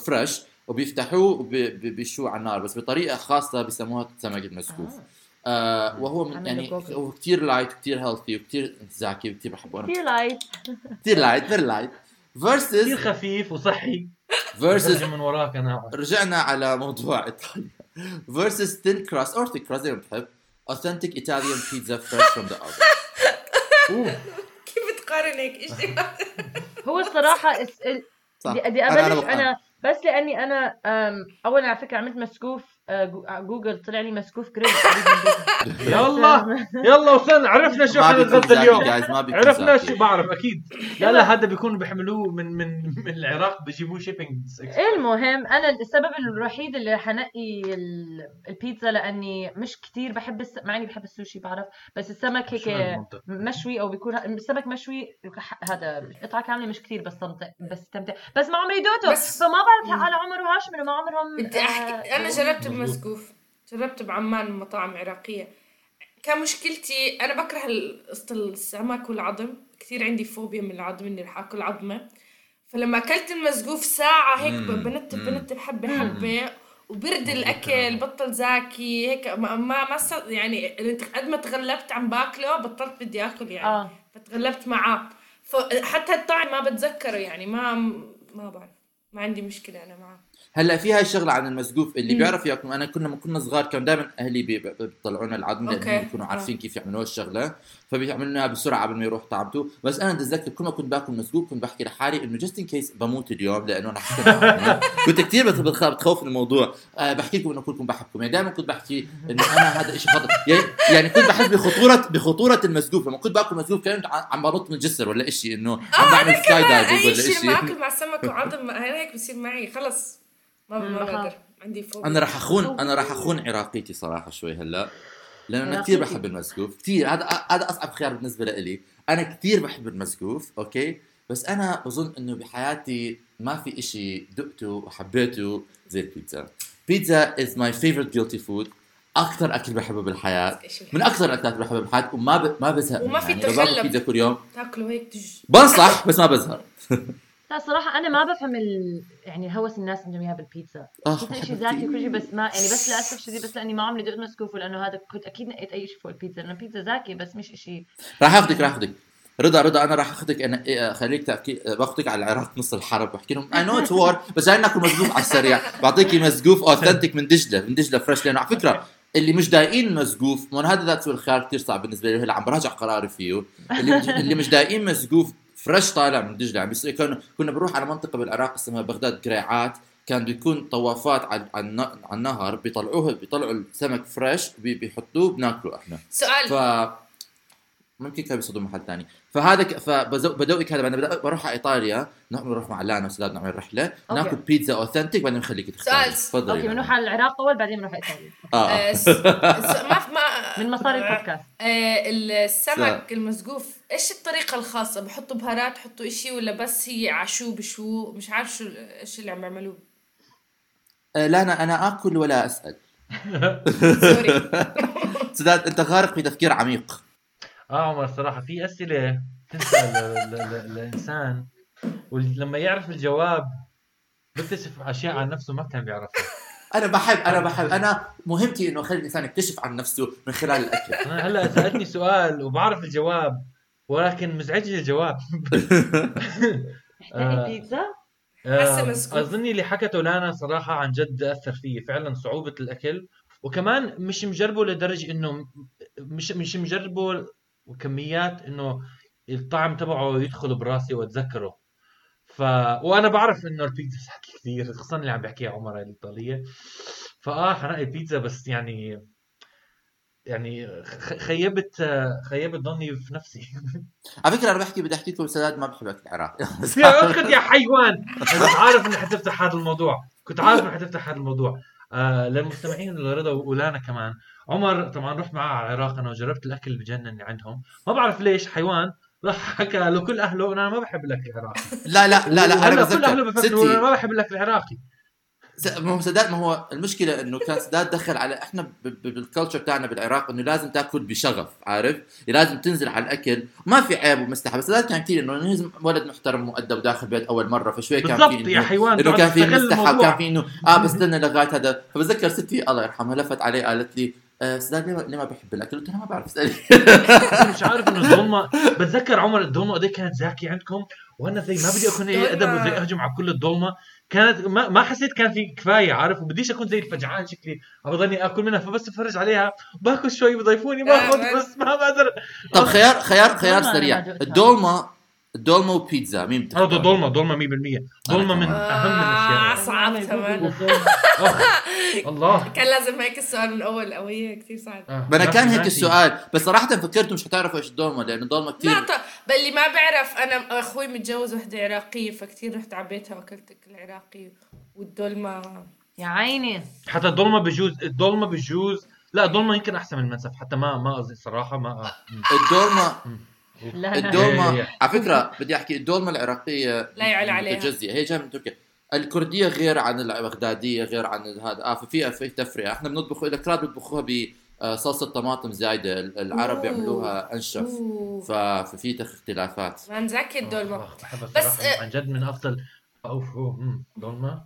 B: فريش وبيفتحوه وبيشوه على النار بس بطريقه خاصه بيسموها سمك المسقوف آه وهو من-
D: عمله
B: يعني
D: جوجل.
B: هو كثير لايت وكثير هيلثي وكثير زاكي وكثير بحبه انا
D: في لايت
B: كثير لايت فيري لايت
C: كثير
B: [laughs] فيرسز
C: خفيف وصحي
B: فيرسز
C: برجع من وراك انا
B: رجعنا على موضوع ايطاليا [laughs] فيرسز تhin crust or thick crust زي ما بتحب authentic Italian pizza fresh from the oven
C: أوه.
E: [laughs] كيف بتقارن هيك شيء
D: هو الصراحه اس- ال-
B: صح
D: بدي بدي
B: أنا- أنا
D: ابلش
B: بقتنع.
D: انا بس لاني انا أم، اولا على فكره عملت مسقوف آه، جو- آه، جوجل طلع لي مسكوف كريدت
C: يلا يلا وصلنا عرفنا شو
B: ما
C: احنا
B: بيكون
C: نتغدى
B: زاكي
C: اليوم
B: جايز ما بيكون
C: عرفنا
B: زاكي.
C: شو بعرف اكيد لا لا هذا بيكون بيحملوه من من من العراق بجيبوه شيبنج
D: [laughs] إيه، المهم انا السبب الوحيد اللي حنقي ال- البيتزا لاني مش كتير بحب الس... مع اني بحب السوشي بعرف بس السمك هيك مشوي او بيكون السمك مشوي ح- هذا قطعه كامله مش كتير بستمتع بستمتع بس ما عمري دوته
E: بس-
D: فما بعرف على عمر وهاشم انه ما عمرهم
E: بدي احكي
D: آه،
E: انا جربت بمسقوف جربت بعمان مطاعم عراقيه كان مشكلتي انا بكره ال- قصة السمك والعظم كثير عندي فوبيا من العظم اني رح اكل عظمه فلما اكلت المسقوف ساعه هيك
B: مم،
E: بنتب
B: مم.
E: بنتب حبه حبه وبرد الاكل بطل زاكي هيك ما ما, ما صار- يعني قد ما تغلبت عم باكله بطلت بدي اكل يعني
D: اه
E: فتغلبت معاه فحتى الطعم ما بتذكره يعني ما ما بعرف ما عندي مشكله انا معاه
B: هلا في هاي الشغله عن المسقوف اللي
E: مم.
B: بيعرف ياكلوا انا كنا لما كنا صغار كان دائما اهلي بي- بي- بيطلعونا العظم لانهم
E: أوكي.
B: بيكونوا
E: آه.
B: عارفين كيف يعملوها الشغله فبيعملوها بسرعه قبل ما يروح طعمته بس انا بتذكر كل ما كنت باكل مسقوف كنت بحكي لحالي انه جاست ان كيس بموت اليوم لانه انا حكيت
E: [laughs]
B: عنها. كنت كثير بتخوف من الموضوع آه، بحكي لكم انه كلكم بحبكم يعني دائما كنت بحكي انه انا هذا شيء خطر يعني- يعني كنت بحس بخطوره بخطوره المسقوف لما كنت باكل مسقوف كان عم بنط من الجسر ولا شيء انه
E: آه،
B: عم بعمل سكاي دايفنج
E: اي
B: ولا يعني؟
E: شيء
B: شيء
E: لما اكل مع سمك وعظم انا هيك بصير معي خلص ما
D: مم،
E: ما
D: بخاف.
E: بقدر عندي فوبيا
B: انا راح اخون انا راح اخون عراقيتي صراحه شوي هلا لانه انا كثير
D: عراقيتي.
B: بحب المسقوف كثير هذا هذا اصعب خيار بالنسبه لإلي انا كثير بحب المسقوف اوكي بس انا بظن انه بحياتي ما في إشي دقته وحبيته زي البيتزا بيتزا از ماي فيفورت جيلتي فود اكثر اكل بحبه بالحياه
E: إشي
B: من اكثر الاكلات اللي بحبها بالحياه وما ب... ما بزهق
E: وما
B: منها.
E: في
B: يعني لو باكل
E: تخلف.
B: بيتزا كل يوم
E: تاكله هيك تج
B: بنصح بس ما بزهق
D: لا صراحة أنا ما بفهم ال... يعني هوس الناس عندهم إياها بالبيتزا،
B: آه،
D: بيتزا شيء
B: حبيبتي.
D: ذاتي وكل شيء بس ما يعني بس للأسف الشديد بس لأني ما عمري دقت مسكوف لأنه هذا كنت أكيد نقيت أي شيء فوق البيتزا لأنه البيتزا ذاكي بس مش شيء
B: راح اخذك راح اخذك رضا رضا انا راح اخذك انا إيه، خليك تحكي باخذك على العراق نص الحرب بحكي لهم اي نو اتس وور بس جاي ناكل مسقوف على السريع بعطيكي مسقوف اوثنتيك من دجله من دجله فريش لانه على فكره اللي مش ضايقين المسقوف من هذا ذات الخيار كثير صعب بالنسبه لي هلا عم براجع قراري فيه اللي مش اللي مش ضايقين مسقوف فريش طالع من دجله عم بيصير كنا كنا بنروح على منطقه بالعراق اسمها بغداد قريعات كان بيكون طوافات على على الن- على النهر بيطلعوه بيطلعوا السمك فريش بي- بيحطوه بناكله احنا
E: سؤال
B: ف ممكن كانوا بيصيدوا محل ثاني فهذا ك... فبدوقك هذا بعدين بدأ- بروح على ايطاليا نحن بنروح مع لانا وسداد نعمل رحله
D: أوكي.
B: ناكل بيتزا اوثنتيك بعدين نخليك تختاري
E: سؤال.
B: تفضلي
D: أوكي
B: لانا.
D: بنروح على العراق أول بعدين بنروح إيطاليا
B: اه [laughs]
E: آه، س- س- ما في- ما
D: من مصاري البودكاست
E: آه،
B: سؤال.
E: السمك المسقوف ايش الطريقه الخاصه بحطوا بهارات حطوا اشي ولا بس هي عشو بشو مش عارف شو ايش اللي عم بيعملوه
B: آه، لانا انا اكل ولا اسال
E: سوري
B: سداد انت غارق في تفكير عميق
C: اه عمر الصراحه في اسئله تنسال ل- ل- ل- للانسان ولما يعرف الجواب بيكتشف اشياء عن نفسه ما كان بيعرفها
B: انا بحب انا بحب انا مهمتي انه اخلي الانسان يكتشف عن نفسه من خلال الاكل
C: انا هلا سالتني سؤال وبعرف الجواب ولكن مزعجني الجواب
D: نحتاج
C: آه.
D: بيتزا
E: حاسة
C: آم،
E: مسكوك.
C: اظني اللي حكته لانا صراحه عن جد اثر فيي فعلا صعوبه الاكل وكمان مش مجربه لدرجه انه م- مش مش مجربه وكميات انه الطعم تبعه يدخل براسي واتذكره ف وانا بعرف انه البيتزا بتحكي كثير خصوصا اللي عم بحكيها عمر الايطاليه فاه حنقي بيتزا بس يعني يعني خ- خيبت خيبت ظني في نفسي
B: على فكره انا بحكي بدي احكي لكم سداد ما بحب اكل [laughs] العراق
C: يا اسكت يا حيوان انا كنت عارف انك حتفتح هذا الموضوع كنت عارف انك حتفتح هذا الموضوع آه للمستمعين لرضا ولانا كمان عمر طبعا رحت معاه على العراق انا وجربت الاكل اللي بجنن اللي عندهم ما بعرف ليش حيوان راح حكى لكل اهله انا ما بحب الاكل العراقي
B: لا لا لا لا انا
C: وهلا كل اهله
B: بتذكر
C: بفكروا
B: ستي
C: انا ما بحب الاكل العراقي
B: س- ما هو سداد ما هو المشكله انه كان سداد دخل على احنا ب- ب- بالكلتشر تاعنا بالعراق انه لازم تاكل بشغف عارف لازم تنزل على الاكل ما في عيب ومستحب سداد كان كثير انه لازم ولد محترم مؤدب داخل بيت اول مره فشوي إيه، كان
C: بالضبط
B: في
C: يا
B: إنه-
C: حيوان
B: انه
C: تقعد
B: كان في
C: تستغل
B: مستحب كان
C: الموضوع
B: في انه اه بستنى لغايه هذا فبتذكر ستي الله يرحمها لفت علي قالت لي آه، سداد ليه ما- ليه ما بحب الاكل؟ قلت لها ما بعرف اسالي
D: [laughs]
C: مش عارف انه الظلمه بتذكر عمر الظلمه قد إيه كانت زاكي عندكم وانا زي ما بدي اكون لي ادب وزي اهجم على كل الظلمه كانت ما, ما حسيت كان في كفايه عارف وبديش اكون زي الفجعان شكلي عم بضلني اكل منها فبس بفرج عليها باكل شوي بضيفوني باخذ
E: آه،
C: بس ما بقدر
B: طب خيار خيار خيار
D: والله أنا ما
B: سريع
D: دقتها.
B: الدولمه دولمه وبيتزا مين بتختار؟
C: هذا دولمه دولمه 100% دولمه من اهم
E: [laughs] [laughs] آه،
C: الاشياء
E: صعب كمان
C: الله
E: كان لازم هيك السؤال من الاول او هي كثير صعب
C: آه،
B: ما انا كان
C: ناسي-
B: هيك
C: ناسي.
B: السؤال بس صراحه فكرت مش حتعرفوا ايش الدولمه لانه الدولمه كثير
E: لا طب بل اللي ما بعرف انا اخوي متجوز وحده عراقيه فكتير رحت عبيتها واكلت اكل عراقي والدولمه
D: يا عيني
C: حتى الدولمه بجوز الدولمه بجوز لا الدولمه يمكن احسن من المنسف حتى ما ما قصدي صراحه ما
B: الدولمه
D: لا
C: [laughs]
D: لا
C: هي-
B: الدولمه
C: هي.
B: على فكره بدي احكي الدولمه العراقيه
E: لا يعلى عليها.
B: متجزئه يعني هي جايه من تركيا الكرديه غير عن البغداديه غير عن هذا اه ففي في تفرقه احنا بنطبخ الاكلات بنطبخوها بصلصه آه، طماطم زايده العرب
E: أوه.
B: بيعملوها انشف
E: أوه.
B: ف- ففي تخ- اختلافات
E: ما نزكي الدولمه
C: آه، بحب
E: بس،
C: بس
E: آه،
C: عن جد من افضل اوف أوه، مم، دولمه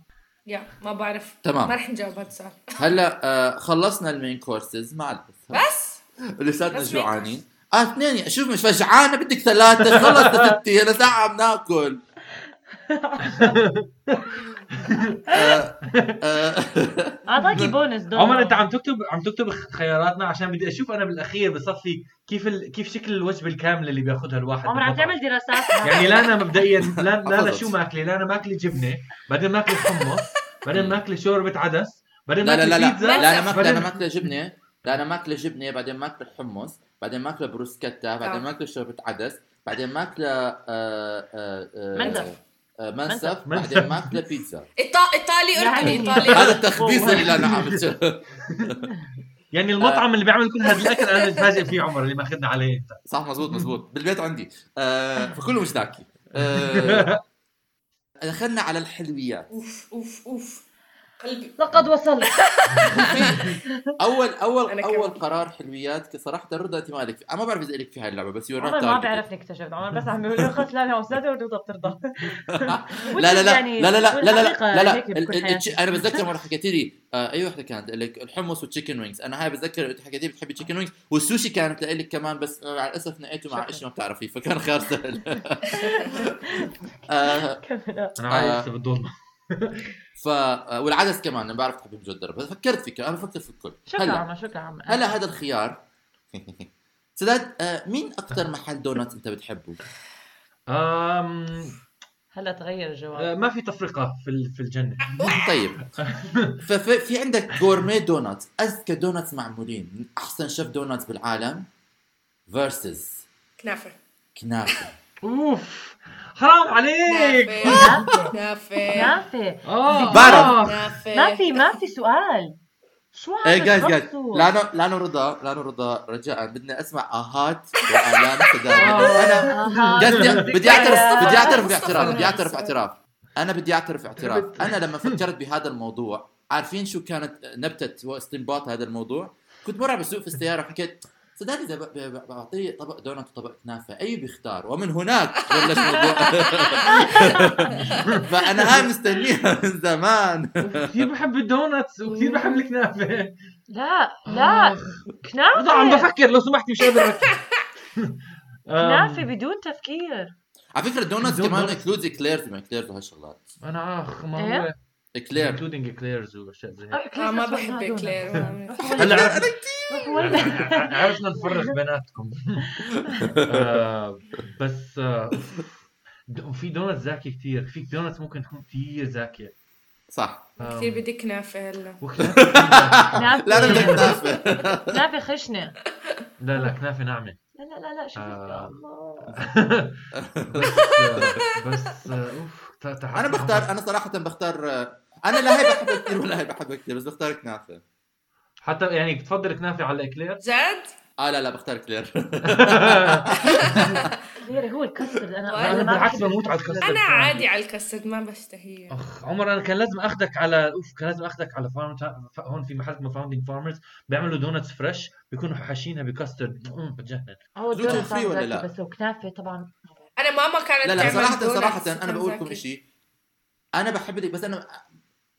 E: يا ما بعرف
B: تمام.
E: ما رح نجاوب هذا السؤال
B: هلا آه خلصنا المين كورسز ما عاد بس
E: بس
B: لساتنا
E: بس
B: جوعانين اه اثنين شوف مش فجعانه بدك ثلاثه خلصت ستي انا ساعه عم ناكل آه، آه،
D: اعطاكي بونس دولمه
C: عمر انت عم تكتب عم تكتب خياراتنا عشان بدي اشوف انا بالاخير بصفي كيف ال... كيف شكل الوجبه الكامله اللي بياخذها الواحد
D: عمر عم
C: بالمطعم.
D: تعمل
B: [laughs]
D: دراسات
C: يعني لا انا مبدئيا لا لا انا
B: حفظت.
C: شو ماكله لا انا ماكله جبنه بعدين ماكله حمص بعدين ماكله شوربه عدس بعدين
B: لا لا
C: ماكله
B: لا لا
C: بيتزا
B: لا انا
E: بس-
B: ماكله انا ماكله جبنه لا انا ماكله جبنه بعدين ماكله حمص بعدين ماكله بروسكتا بعدين
E: آه.
B: ماكله شوربه عدس بعدين ماكله آه، آه، آه،
D: منسف.
B: آه، منسف
C: منسف.
B: بعدين ماكله بيتزا
E: إيطا... ايطالي
D: يا
E: اردني
D: عيني.
E: ايطالي
B: هذا التخبيص اللي انا عملته
C: يعني المطعم اللي بيعمل كل هذا الاكل انا متفاجئ فيه عمر اللي ماخذنا عليه انت
B: صح مزبوط مزبوط بالبيت عندي
D: [laughs]
B: آه فكله مش ذاكي آه [laughs] دخلنا على الحلويات
E: اوف اوف اوف قلبي
D: لقد وصلت
B: [laughs] اول اول
E: أنا
B: اول
E: كمان.
B: قرار حلويات صراحه رضا انت مالك في- انا ما بعرف اذا لك في هاي اللعبه بس
D: عمر ما بيعرفني اكتشفت عمر بس عم بيقول لي خلص لا لا وسادة ورضا [laughs]
B: [laughs]
D: بترضى
B: لا لا لا
D: يعني
B: لا لا لا لا
D: والحقيقة
B: لا لا لا
D: هيك بكل
B: ال- ال-
D: حياتي.
B: التش- انا بتذكر مره حكيت لي آه، اي وحده كانت لك الحمص والتشيكن وينجز انا هاي بتذكر انت حكيت لي بتحبي تشيكن وينجز والسوشي كانت لك كمان بس آه، مع الاسف نقيته مع
D: شكراً.
B: شيء ما بتعرفي فكان خيار
D: [laughs]
B: سهل آه،
D: [laughs] كمل.
C: انا
B: آه.
C: عايز لسه بالدولمه
B: ف والعدس كمان انا بعرف تحبي مجدر بس فكرت فيك انا بفكر في الكل
D: شكرا
B: هلا
D: عمر شكرا عمر
B: هلا هذا الخيار سداد آه، مين اكثر محل دونات انت بتحبه؟
C: آم...
D: هلا تغير
C: آه،
D: الجواب
C: ما في تفرقه في ال- في الجنه
B: طيب ففي في عندك جورمي دونات اذكى دوناتس معمولين من احسن شيف دوناتس بالعالم فيرسز
E: كنافه
B: كنافه
C: اوف حرام عليك
E: كنافه كنافه
D: نافع
C: اه
B: بعرف.
D: ما
E: كنافه
D: في ما في سؤال شو عم
B: ايه جايز جايز
D: بتخبصوا؟
B: لانه لانه رضا لانه رضا رجاء بدنا اسمع اهات والام سداد انا
D: آه.
B: جد بدي- بدي اعترف بدي اعترف
E: مصطفى
B: باعتراف بدي اعترف
E: ناصر.
B: اعتراف انا بدي اعترف اعتراف انا لما فكرت بهذا الموضوع عارفين شو كانت نبته واستنباط هذا الموضوع كنت مره بسوق في السياره حكيت صدقني اذا ب- ب- بعطيه طبق دونت وطبق كنافه اي بيختار ومن هناك بلش الموضوع [laughs] فانا هاي مستنيها من زمان
C: آه، كثير بحب الدونتس وكثير بحب الكنافه
D: لا لا
C: رضا عم
D: كنافه
C: بفكر لو سمحتي مش قادر أركز. آم،
D: كنافه بدون تفكير
B: على فكره الدونتس
C: دونت.
B: كمان اكلودز اكليرز ما اكليرز وهالشغلات
C: انا اخ ما
D: إيه؟
C: هو
B: اكلير
C: including eclairs واشياء زي هيك
E: آه،
D: أكلت
E: ما
D: أصلاً
E: بحب
D: دونت.
E: كلير ما
B: آه.
E: بعرف.
C: هلا
D: روح
C: [laughs]
D: وين؟
C: عرفنا نفرق بيناتكم آه، بس آه، د- في دونت زاكي كثير في دونت ممكن تكون كثير زاكيه [laughs]
B: صح
C: آم،
E: كثير بدي كنافه هلا
C: وكنافة كتير زاكية.
B: لا انا بدي
D: كنافه
B: كنافه
D: كنافه خشنه
C: لا لا كنافه ناعمه
D: لا لا لا لا شوف يا
C: آه.
D: الله
C: آه، بس آه، اوف تع- تعال-
B: انا بختار انا صراحه بختار انا لا هي بحبها كثير ولا هي بحبها كثير بس بختار كنافه
C: حتى يعني بتفضل كنافه على
E: [laughs]
C: الاكلير
E: جد؟
B: اه لا لا بختار كلير [laughs]
D: غير هو الكسر انا
C: انا
D: انا ما
C: بالعكس
D: بحب
C: بموت على الكاسترد
E: انا عادي على الكاستد ما بشتهيه
C: اخ عمر انا كان لازم اخذك على اوف كان لازم اخذك على فارم تا- ف- هون في محل اسمه فاوندينج فارمرز بيعملوا دونتس فريش بيكونوا حاشينها بكاسترد أمم، بتجنن
D: هو
B: جوجو
D: الدونت
B: فري
D: طعم
B: ولا
D: زاكي،
B: لا؟
D: بس لو كنافه طبعا
E: انا ماما كانت
B: لا لا
E: تعمل
B: صراحة
E: دونتس
B: صراحة أنا
E: كان
B: بقول لكم
E: زاكي.
B: شيء أنا بحب لك بس أنا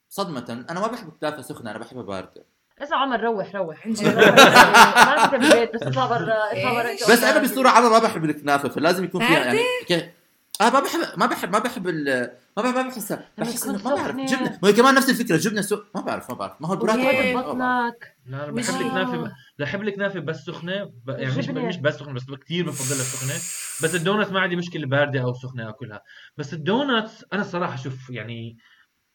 B: صدمة أنا ما بحب الكنافة سخنة أنا بحبها باردة
D: اسمع عمر
B: [laughs]
D: روح روح
E: عن جد.
D: ما انت بالبيت بس اطلع برا اطلع برا
E: إيه.
B: بس أنا بصورة عامة ما بحب الكنافة فلازم يكون فيها يعني ك... اه ما بحب ما بحب ما بحب ال ما بحب ما بحسها
D: لما
B: بحس
D: يكون
B: إنه ما بعرف
D: سخنة.
B: جبنه ما هي كمان نفس الفكره جبنه سو ما بعرف ما بعرف ما هو البراد
E: وهي
B: ما بعرف. ما بعرف.
D: بطنك
C: لا انا
E: وجبنة.
C: بحب الكنافه بحب الكنافه بس سخنه ب... يعني مش
D: وجبنة.
C: مش بس سخنه بس كثير بفضلها سخنه بس الدونتس ما عندي مشكله بارده او سخنه اكلها بس الدونتس انا الصراحه شوف يعني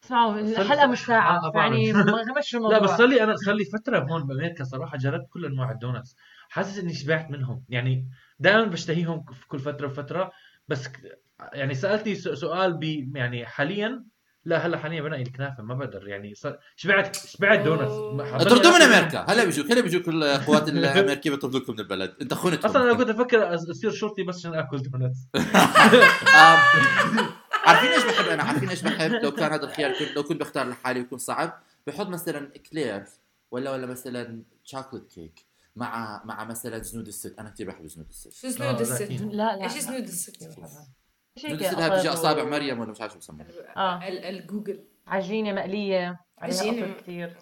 D: اسمعوا
C: صرت-
D: الحلقه مش
C: آه،
D: ساعه
C: بعرف. [laughs]
D: يعني ما مش الموضوع
C: لا بس صار لي انا صار لي فتره هون بامريكا صراحه جربت كل انواع الدونتس حاسس اني شبعت منهم يعني دائما بشتهيهم في كل فتره وفتره بس ك- يعني سالتني س- سؤال ب يعني حاليا لا هلا حاليا بنقي الكنافه ما بقدر يعني صار شبعت شبعت دونتس ما حضرني
B: اطردوا من
C: أكل-
B: امريكا هلا بيجوك هلا بيجوك القوات الامريكيه بيطردوكم من البلد انت خنتهم
C: اصلا انا كنت افكر أص- اصير شرطي بس عشان اكل دونتس
B: آم، [laughs] عارفين ايش بحب انا عارفين ايش بحب لو كان هذا الخيار كنت لو كنت بختار لحالي يكون صعب بحط مثلا كلير ولا ولا مثلا شوكليت كيك مع مع مثلا زنود الست انا كثير بحب زنود الست
E: شو اسمه دست
C: أكيد.
D: لا لا
E: ايش اسمه دست
D: شيء
B: زنود
D: كده
B: الست هاي بيجي
D: قطط
B: اصابع
D: و-
B: مريم ولا مش عارف شو بسموها
D: آه.
E: ال- يعني الجوجل
D: عجينه مقليه
E: عجينة.
D: عجينه قطط كثير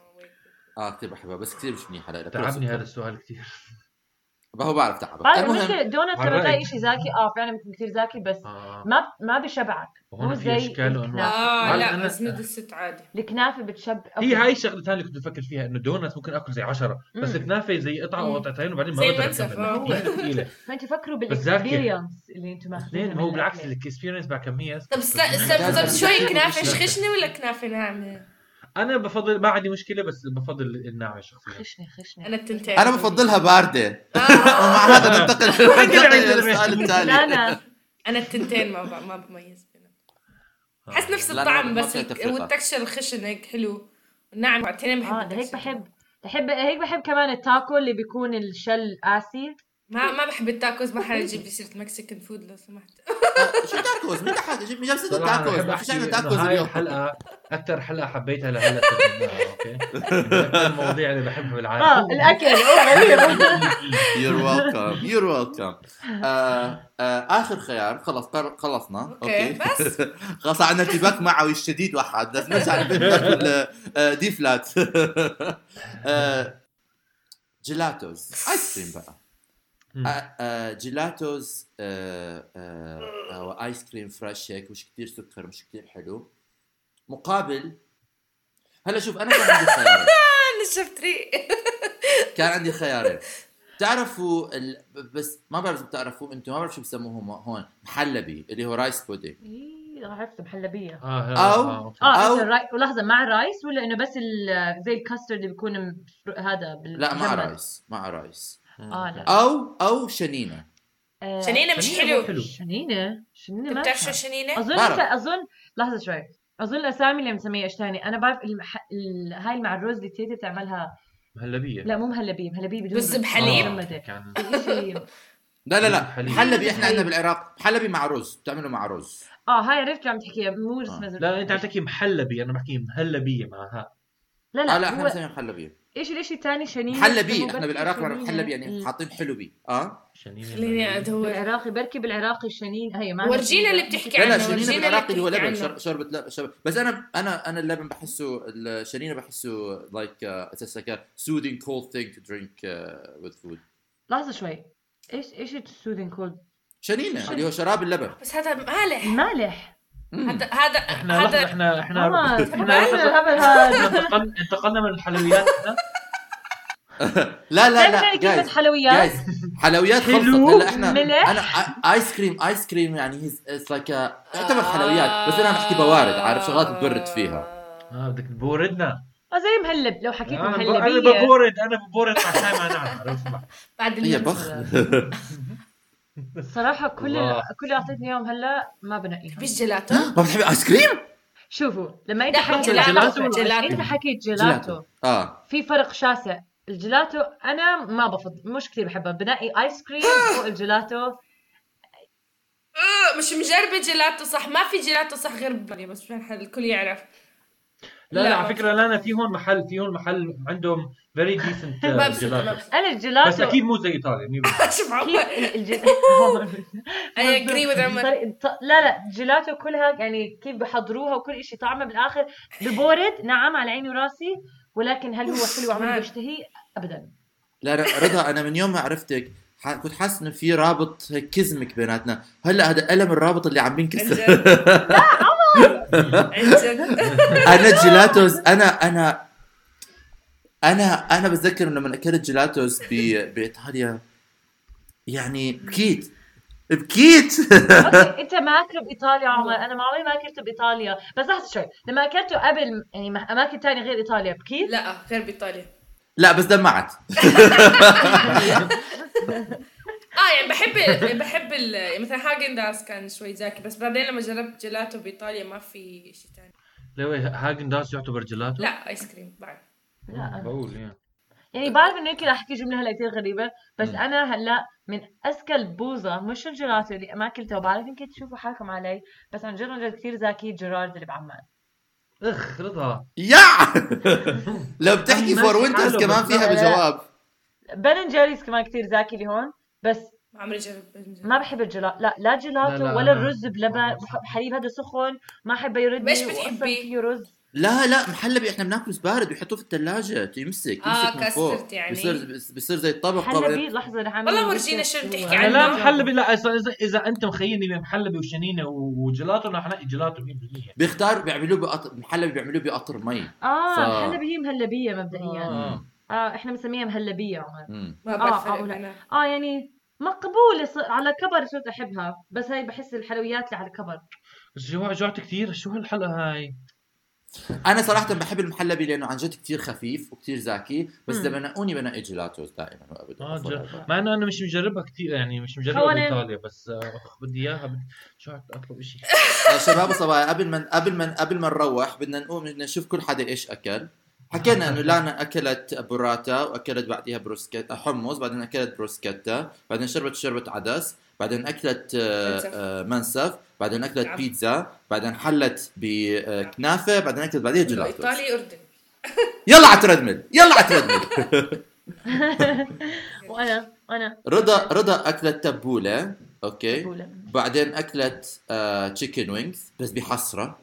B: اه كثير بحبها بس كثير مش منيحه لها
C: تعبني هذا السؤال كثير
B: هو بعرف تعبك
D: بعرف
B: المهم
D: المشكله الدونت
C: على
D: لما تلاقي
C: رأيك.
D: شيء زاكي اه فعلا بيكون كثير زاكي بس
C: آه.
D: ما ما بشبعك
C: وهون
D: مو
C: في
D: زي
C: أشكال وأنواع.
D: الكنافة.
E: اه
C: بعرف
E: لا
C: أنا-
E: اسمه دست عادي
D: الكنافه بتشبع
C: هي إيه، هاي الشغله الثانيه اللي كنت بفكر فيها انه دونت ممكن اكل زي 10 بس
D: مم.
C: كنافه زي قطعه او
E: مم.
C: قطعتين وبعدين ما
E: زي
C: بقدر
E: المنسف، آه.
C: اكمل ثقيله
D: فانت فكروا
C: زاكي.
D: بالاكسبيرينس اللي انتم ماخذينها
C: اثنين
D: من
C: هو بالعكس
D: الأكلة.
C: الاكسبيرينس مع كميه
E: طب است-
B: لا،
E: طب
B: لا،
E: طب شوي
B: لا.
E: كنافه خشنه ولا نعم. كنافه ناعمه؟
C: انا بفضل ما عندي مشكله بس بفضل الناعمه شخصيا
D: خشنه خشنه
E: انا التنتين
B: انا بفضلها بارده
E: آه،
B: [laughs] ومع هذا
C: [laughs]
B: ننتقل ننتقل
C: عملت
B: للسؤال
C: ربح.
D: لا
B: التالي
D: انا
E: انا التنتين ما ب- ما بميز بينهم حس نفس
B: آه، لا، لا،
E: الطعم
B: ما
E: بس
B: فيها
E: الك-
B: تفرقة.
E: والتكشر الخشن هيك حلو ناعم التنين آه، بحب
D: اه هيك
E: التكشر.
D: بحب بحب هيك بحب كمان التاكو اللي بيكون الشل قاسي
E: ما ما بحب التاكوز ما حدا يجيب لي سيره مكسيكان فود لو [laughs] سمحت
B: آه، شو تاكوز؟ مين حاجة جيب جاب
C: صراحة أنا
B: تاكوز
C: بحب
B: ما فيش
C: أحكي
B: عندنا
C: إنه
B: تاكوز
C: هاي
B: اليوم
C: الحلقه اكثر حلقه حبيتها لهلا تكلمناها، [laughs] اوكي أكثر المواضيع اللي بحبها بالعالم
D: اه الاكل اوه
E: [laughs]
D: غريب
B: يور ويلكم يور ويلكم اخر آه، خيار خلص قر- خلصنا
E: اوكي بس
B: [laughs] خلص عندنا ارتباك معوي الشديد وحاد بس نرجع البيت ناكل آه، دي فلات [laughs] آه، جيلاتوز ايس كريم بقى
C: مم.
B: آه، آه، جيلاتوز آه، آه، آه، وايس كريم فريش هيك مش كتير سكر مش كتير حلو مقابل هلا شوف انا كان عندي خيارين
E: انا شفت ريق
B: كان عندي خيارين تعرفوا ال... بس ما بعرف إذا بتعرفوا انتم ما بعرف شو بسموهم هون محلبي اللي هو رايس بودينج
D: إيه، عرفت محلبيه
C: اه هلا،
B: أو-
C: آه، أوكي.
D: اه
B: أو-
D: أو... الراي... لحظه مع الرايس ولا انه بس ال... زي الكاسترد اللي بيكون م... هذا بال...
B: لا مع
D: مجمد؟
B: رايس مع رايس
D: اه لا
B: او او شنينه
D: آه،
E: شنينه مش
C: شنينة
E: حلو
C: مو حلو.
D: شنينه شنينه ما
E: بتعرف شو
D: فيها.
E: شنينه؟
D: اظن
B: بعرف.
D: أنت... اظن لحظه شوي اظن الاسامي اللي مسميها ايش ثاني انا بعرف المح... ال... هاي اللي مع الرز اللي تيتا بتعملها
C: مهلبيه
D: لا مو مهلبيه مهلبيه بدون
E: رز
D: رز.
E: بحليب؟
C: آه،
D: مجمدة.
C: كان-
D: الإشي-
B: لا لا لا
C: محلبي.
B: محلبي احنا عندنا بالعراق محلبي مع رز بتعمله مع رز
D: اه هاي عرفت شو عم تحكيها مو رز
B: آه.
D: مزروع
C: لا انت عم تحكي محلبي انا بحكي مهلبيه مع ها
D: لا
B: اه
D: لا,
B: لا احنا
D: هو
B: بنسميه محلبي
D: ايش الاشي الثاني شنينه
B: محلبي
D: بسموه
B: احنا
D: بركي
B: بالعراق بنعرف
D: شنينة.
B: محلبي يعني
D: ال-
B: حاطين حلبي اه
C: شنينه
E: خليني ادور
D: بالعراقي بركي بالعراقي شنين هي ما
E: ورجينا اللي بتحكي
B: لا لا
E: عنه
B: شنينه
E: ورجينا
B: بالعراق
E: اللي
B: اللي هو
E: يعني بتحكي
B: لبن
E: عنه
B: شر- شربة لبن شربة بس انا انا انا اللبن بحسه الشنينه بحسه آه، لايك اساسا سودين كولد ثينج تو درينك وذ فود
D: لحظه شوي ايش ايش السودن كولد
B: شنينه اللي هو شراب اللبن
E: بس هذا مالح
D: مالح
E: هذا هذا
C: احنا لحظه
E: هذا
C: احنا احنا
D: طبعاً.
C: احنا لحظة-
D: الهبل هذا
C: انتقلنا انتقلنا من الحلويات احنا
B: لا لا لا
D: تعرف كيف
B: جايز
D: حلويات
B: جايز حلويات خلصت
C: حلو،
B: هلا احنا
D: ملح.
B: انا آ- ايس كريم ايس كريم يعني اتس لايك تعتبر
D: آه.
B: حلويات بس انا عم بحكي بوارد عارف شغلات بتبرد فيها
C: اه بدك تبوردنا
D: اه زي مهلب لو حكيت
C: آه، انا
D: مهلبيه
C: ببورد انا ببورد مع شاي مع نعناع اسمع
E: بعد
B: هي
E: اللبن
B: بخ
D: صراحه كل
C: الله.
D: كل اللي اعطيتني اياهم هلا ما بنقيهم
E: بيش جيلاتو
B: [laughs] ما بتحبي ايس كريم؟
D: شوفوا لما انت
E: لا،
D: حكيت
E: جيلاتو،
D: لحظة،
E: جيلاتو.
D: انت حكيت جيلاتو
B: اه
D: في فرق شاسع الجيلاتو انا ما بفضل مش كثير بحبها بنقي ايس كريم فوق الجيلاتو
E: آه، مش مجربه جيلاتو صح ما في جيلاتو صح غير ببري بس مشان حد الكل يعرف
C: لا
E: لا.
C: لا على فكره لانا في هون محل في هون محل عندهم فيري ديسنت
E: ما بصير، ما
C: جيلاتو
E: بصير.
D: انا الجيلاتو
C: بس اكيد مو زي ايطاليا مية بالمية.
E: [laughs] شوف عمر
B: [laughs]
D: كيف الجيلاتو
E: [laughs] I agree with عمر
D: لا لا الجيلاتو كلها يعني كيف بحضروها وكل شيء طعمها بالاخر ببورد نعم على عيني وراسي ولكن هل هو حلو وعمري بشتهي ابدا
B: لا لا، رضا انا من يوم ما عرفتك ح- كنت حاسس انه في رابط هيك كزمك بيناتنا هلا هذا الم الرابط اللي عم
E: عن
B: بينكسر
E: جد عن جد [laughs]
B: انا جيلاتوس انا انا انا انا بتذكر انه من اكلت جيلاتوس ب... بايطاليا يعني بكيت بكيت
D: اوكي انت ما اكله بايطاليا عمر انا ما عمري ما اكلته بايطاليا بس لحظه شوي لما اكلته قبل يعني مح- اماكن تانية غير ايطاليا بكيت
E: لا غير بايطاليا
B: لا بس دمعت
E: اه يعني بحب بحب ال- يعني مثلا هاجن داس كان شوي زاكي بس بعدين لما جربت جيلاتو بايطاليا ما في شيء ثاني
C: لو هاجن داس يعتبر جيلاتو؟
E: لا ايس كريم بعد
D: لا.
C: بقول يعني
D: يعني بعرف انه يمكن احكي جمله هلا كثير غريبه بس
B: مم.
D: انا هلا من اذكى البوظه مش الجيلاتو اللي ما اكلته وبعرف يمكن تشوفوا حالكم علي بس عن جد عن جد كثير زاكي جيرارد اللي بعمان
C: اخ رضا
B: يا لو بتحكي فور وينترز كمان فيها بجواب
D: بن أند جيريز كمان كثير زاكي اللي هون بس
E: ما عمري جربت
D: ما بحب الجيلاتو لا لا جيلاتو
C: لا، لا،
D: ولا
C: لا.
D: الرز بلبن بحب حليب هذا سخن ما احبه يردني
E: ليش
D: وأصلاً
E: بتحبيه؟
D: فيه رز
B: لا لا محلبي احنا بناكله بارد ويحطوه في الثلاجه يمسك يمسك
E: آه،
B: من فوق.
E: كاسترد يعني.
B: بيصير بيصير زي الطبقه
D: حلبي
B: بعدين-
D: لحظه رح أعمل
E: والله
D: لك
E: ورجينا شو
D: صورة.
E: بتحكي
C: انا
E: عنه.
C: طيب. لا محلبي لا إذا, اذا اذا انت مخيلني بين محلبي وشنينه و- وجيلاتو نحن جيلاتو 100%
B: بيختاروا بيعملوه بقطر محلبي بيعملوه بقطر مي
D: اه
B: ف-
D: الحلبي هي مهلبيه مبدئيا
C: آه.
D: اه احنا بنسميها مهلبيه عمر
B: مم.
E: ما
D: آه،
E: بعرف
D: آه، ولا.
E: انا
D: اه يعني مقبولة ص- على كبر صرت احبها بس هاي بحس الحلويات اللي على كبر
C: بس جوع جوعت كثير شو هالحلقه هاي؟
B: انا صراحه بحب المحلبي لانه عن جد كثير خفيف وكثير زاكي بس
D: مم.
B: اذا بنقوني بنقي جيلاتوز دائما وابدا
C: آه،
B: أفضل
C: جا-
B: هذا.
C: مع انه انا مش مجربها كثير يعني مش مجربها
D: أولاً-
C: بايطاليا بس آه، أخ، بدي اياها بدي جوعت اطلب شيء
B: يا شباب وصبايا قبل ما قبل ما قبل ما نروح بدنا نقوم بدنا نشوف كل حدا ايش اكل حكينا انه لانا اكلت بوراتا واكلت بعديها بروسكيتا حمص بعدين اكلت بروسكيتا بعدين شربت شربة عدس بعدين اكلت آه،
E: منسف.
B: آه، منسف بعدين اكلت
E: نعم.
B: بيتزا بعدين حلت بكنافه بعدين اكلت بعديها جيلاتو
E: ايطالي اردن
B: يلا على التريدميل يلا على التريدميل
D: وانا انا
B: رضا رضا اكلت تبوله اوكي
D: مقبولة
B: بعدين آه، اكلت تشيكن وينجز بس بحسره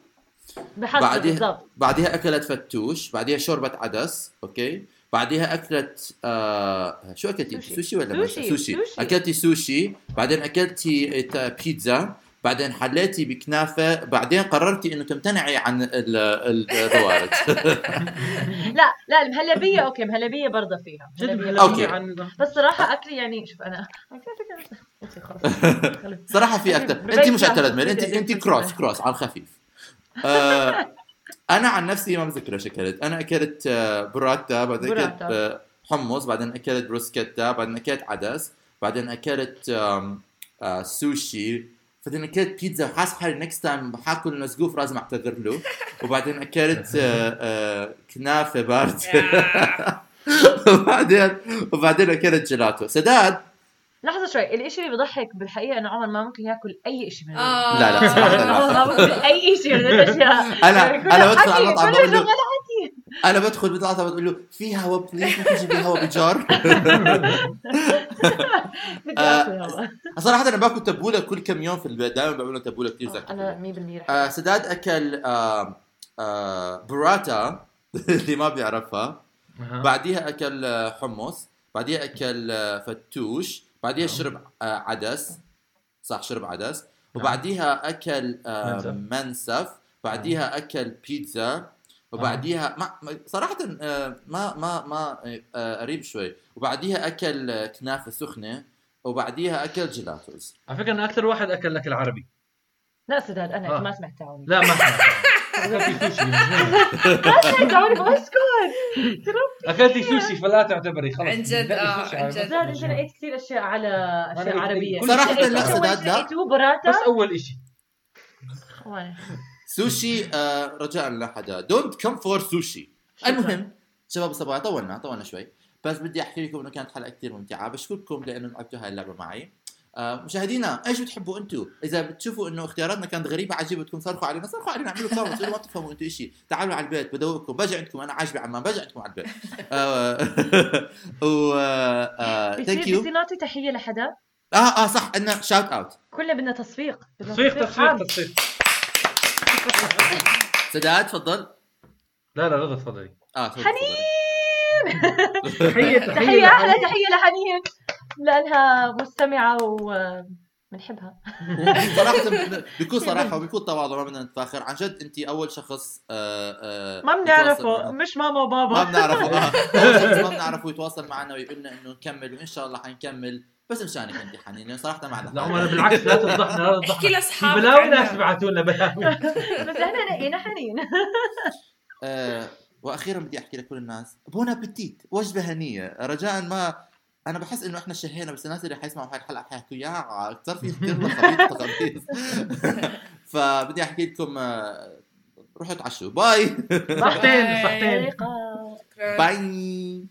D: بحسب
B: بعديها-
D: بالضبط
B: بعديها اكلت فتوش بعديها شوربه عدس اوكي بعديها اكلت آه شو اكلتي
D: سوشي.
B: سوشي, ولا
D: سوشي.
B: ما- سوشي.
D: سوشي.
B: اكلتي سوشي بعدين اكلتي تا- بيتزا بعدين حليتي بكنافه بعدين قررتي انه تمتنعي عن ال- ال-
D: [laughs]
B: الروارد
D: لا لا المهلبية اوكي مهلبية برضه فيها
C: جد
D: مهلبية
C: مهلبية
D: برضه.
B: أوكي.
C: عن
D: بس صراحة اكلي يعني شوف [laughs] انا أوكي،
B: [laughs]
D: خلص. خلص.
B: صراحه في اكثر انت مش على التريدميل انت
D: بدي
B: انت
D: أكل
B: كروس
D: سوشي.
B: كروس على الخفيف آه انا عن نفسي ما بذكر ايش اكلت انا اكلت آه، براتا بعدين اكلت
D: براتا.
B: آه، حمص بعدين اكلت بروسكيتا بعدين اكلت عدس بعدين اكلت آم، آه، سوشي بعدين اكلت بيتزا وحاسس حالي نكست تايم حاكل نسقوف لازم اعتذر له وبعدين اكلت آه، آه، كنافه بارده
E: يا.
B: [laughs] وبعدين وبعدين اكلت جيلاتو سداد
D: لحظة شوي الاشي اللي بضحك بالحقيقة انه عمر ما ممكن ياكل اي اشي من هذول.
E: آه.
B: لا، لا، صراحة [laughs] لا.
D: عمر ما ممكن اي اشي
B: [laughs]
D: من يعني الاشياء
B: انا انا بدخل على المطعم بقول له
D: له
B: انا بدخل بتعطى بتقول له في هواء بليز ممكن تجيب لي هواء بجار [laughs] آه، صراحه انا باكل تبوله كل كم يوم في البيت دائما بعمل لهم تبوله كثير
D: انا
B: زكاه
D: 100% رح
B: آه سداد اكل آه آه براتا [laughs] اللي ما بيعرفها
C: أها.
B: بعديها اكل آه، حمص بعديها اكل آه، فتوش بعديها شرب آه عدس صح شرب عدس وبعديها اكل آه
C: منسف.
B: منسف بعديها اكل بيتزا وبعديها ما ما- صراحة آه، ما ما ما آه، قريب شوي وبعديها اكل آه، كنافة سخنة وبعديها اكل جيلاتوز
C: على فكره انا اكثر واحد اكل لك العربي
D: لا سداد انا
C: آه.
D: ما سمعت تعاوني
C: لا ما اكلت سوشي من زمان.
D: [laughs] سمعت تعاوني
B: [laughs]
D: اسكت
C: اكلت سوشي فلا تعتبري خلص
E: عن جد، آه،
C: سوشي
E: عن
C: على بطني
D: سداد
E: جد.
D: انت
C: جوع.
D: لقيت كثير اشياء على اشياء
C: لقيت
D: عربية
C: كل
B: صراحة
D: لقيت
B: لا،
D: أول
B: سداد
D: شيء
B: لا.
D: لقيته براتا
C: بس اول شيء
D: وأنا-
B: سوشي آه، رجاء لا حدا دونت كم فور سوشي
D: شكراً.
B: المهم شباب وصبايا طولنا طولنا شوي بس بدي احكي لكم انه كانت حلقه كثير ممتعه بشكركم لانه لعبتوا هاي اللعبه معي آه، مشاهدينا ايش بتحبوا انتم؟ اذا بتشوفوا انه اختياراتنا كانت غريبه عجيبه بدكم صرخوا علينا صرخوا علينا اعملوا كومنت تقولوا ما بتفهموا انتم شيء تعالوا على البيت بدوقكم بجي عندكم انا عاجبه عمان بجي عندكم على البيت آه، [laughs] و آه، ثانك
D: بصير
B: يو
D: بصير نعطي تحية لحدا
B: اه اه صح عندنا شاوت اوت
D: كلنا بدنا تصفيق بدنا
C: تصفيق تصفيق
D: عام.
C: تصفيق
B: سداد تفضل آه،
C: لا لا رضا تفضلي
B: اه تفضل، تفضل.
D: حنين
C: تحيه
D: تحية أحلى تحية لحنين لانها مستمعه وبنحبها
B: صراحه بكل صراحه وبكل تواضع ما بدنا نتفاخر عن جد انت اول شخص آه، آه،
D: ما بنعرفه
B: يتواصل معنا.
D: مش ماما
B: ما
D: وبابا
B: بنعرفه آه، أول شخص ما بنعرفه يتواصل معنا ويقول لنا انه نكمل وان شاء الله حنكمل بس مشانك انت حنين لأنه صراحه ما عندنا
C: لا
B: حل.
C: هم أنا بالعكس لا تفضحنا لا
E: احكي
C: تفضحنا في
E: لاصحابك
C: بلاوي ناس
E: عنها.
C: بيبعتوا لنا بلاوي
D: بس احنا لقينا حنين [laughs]
B: آه، واخيرا بدي احكي لكل الناس بون ابيتيت وجبه هنيه رجاء ما انا بحس انه احنا شهينا بس الناس اللي حيسمعوا هاي الحلقه حيحكوا يا صار في كثير خبيط تخبيص [laughs] فبدي احكي لكم آه، روحوا تعشوا باي
D: صحتين
C: صحتين صحتين
D: طريقة
B: باي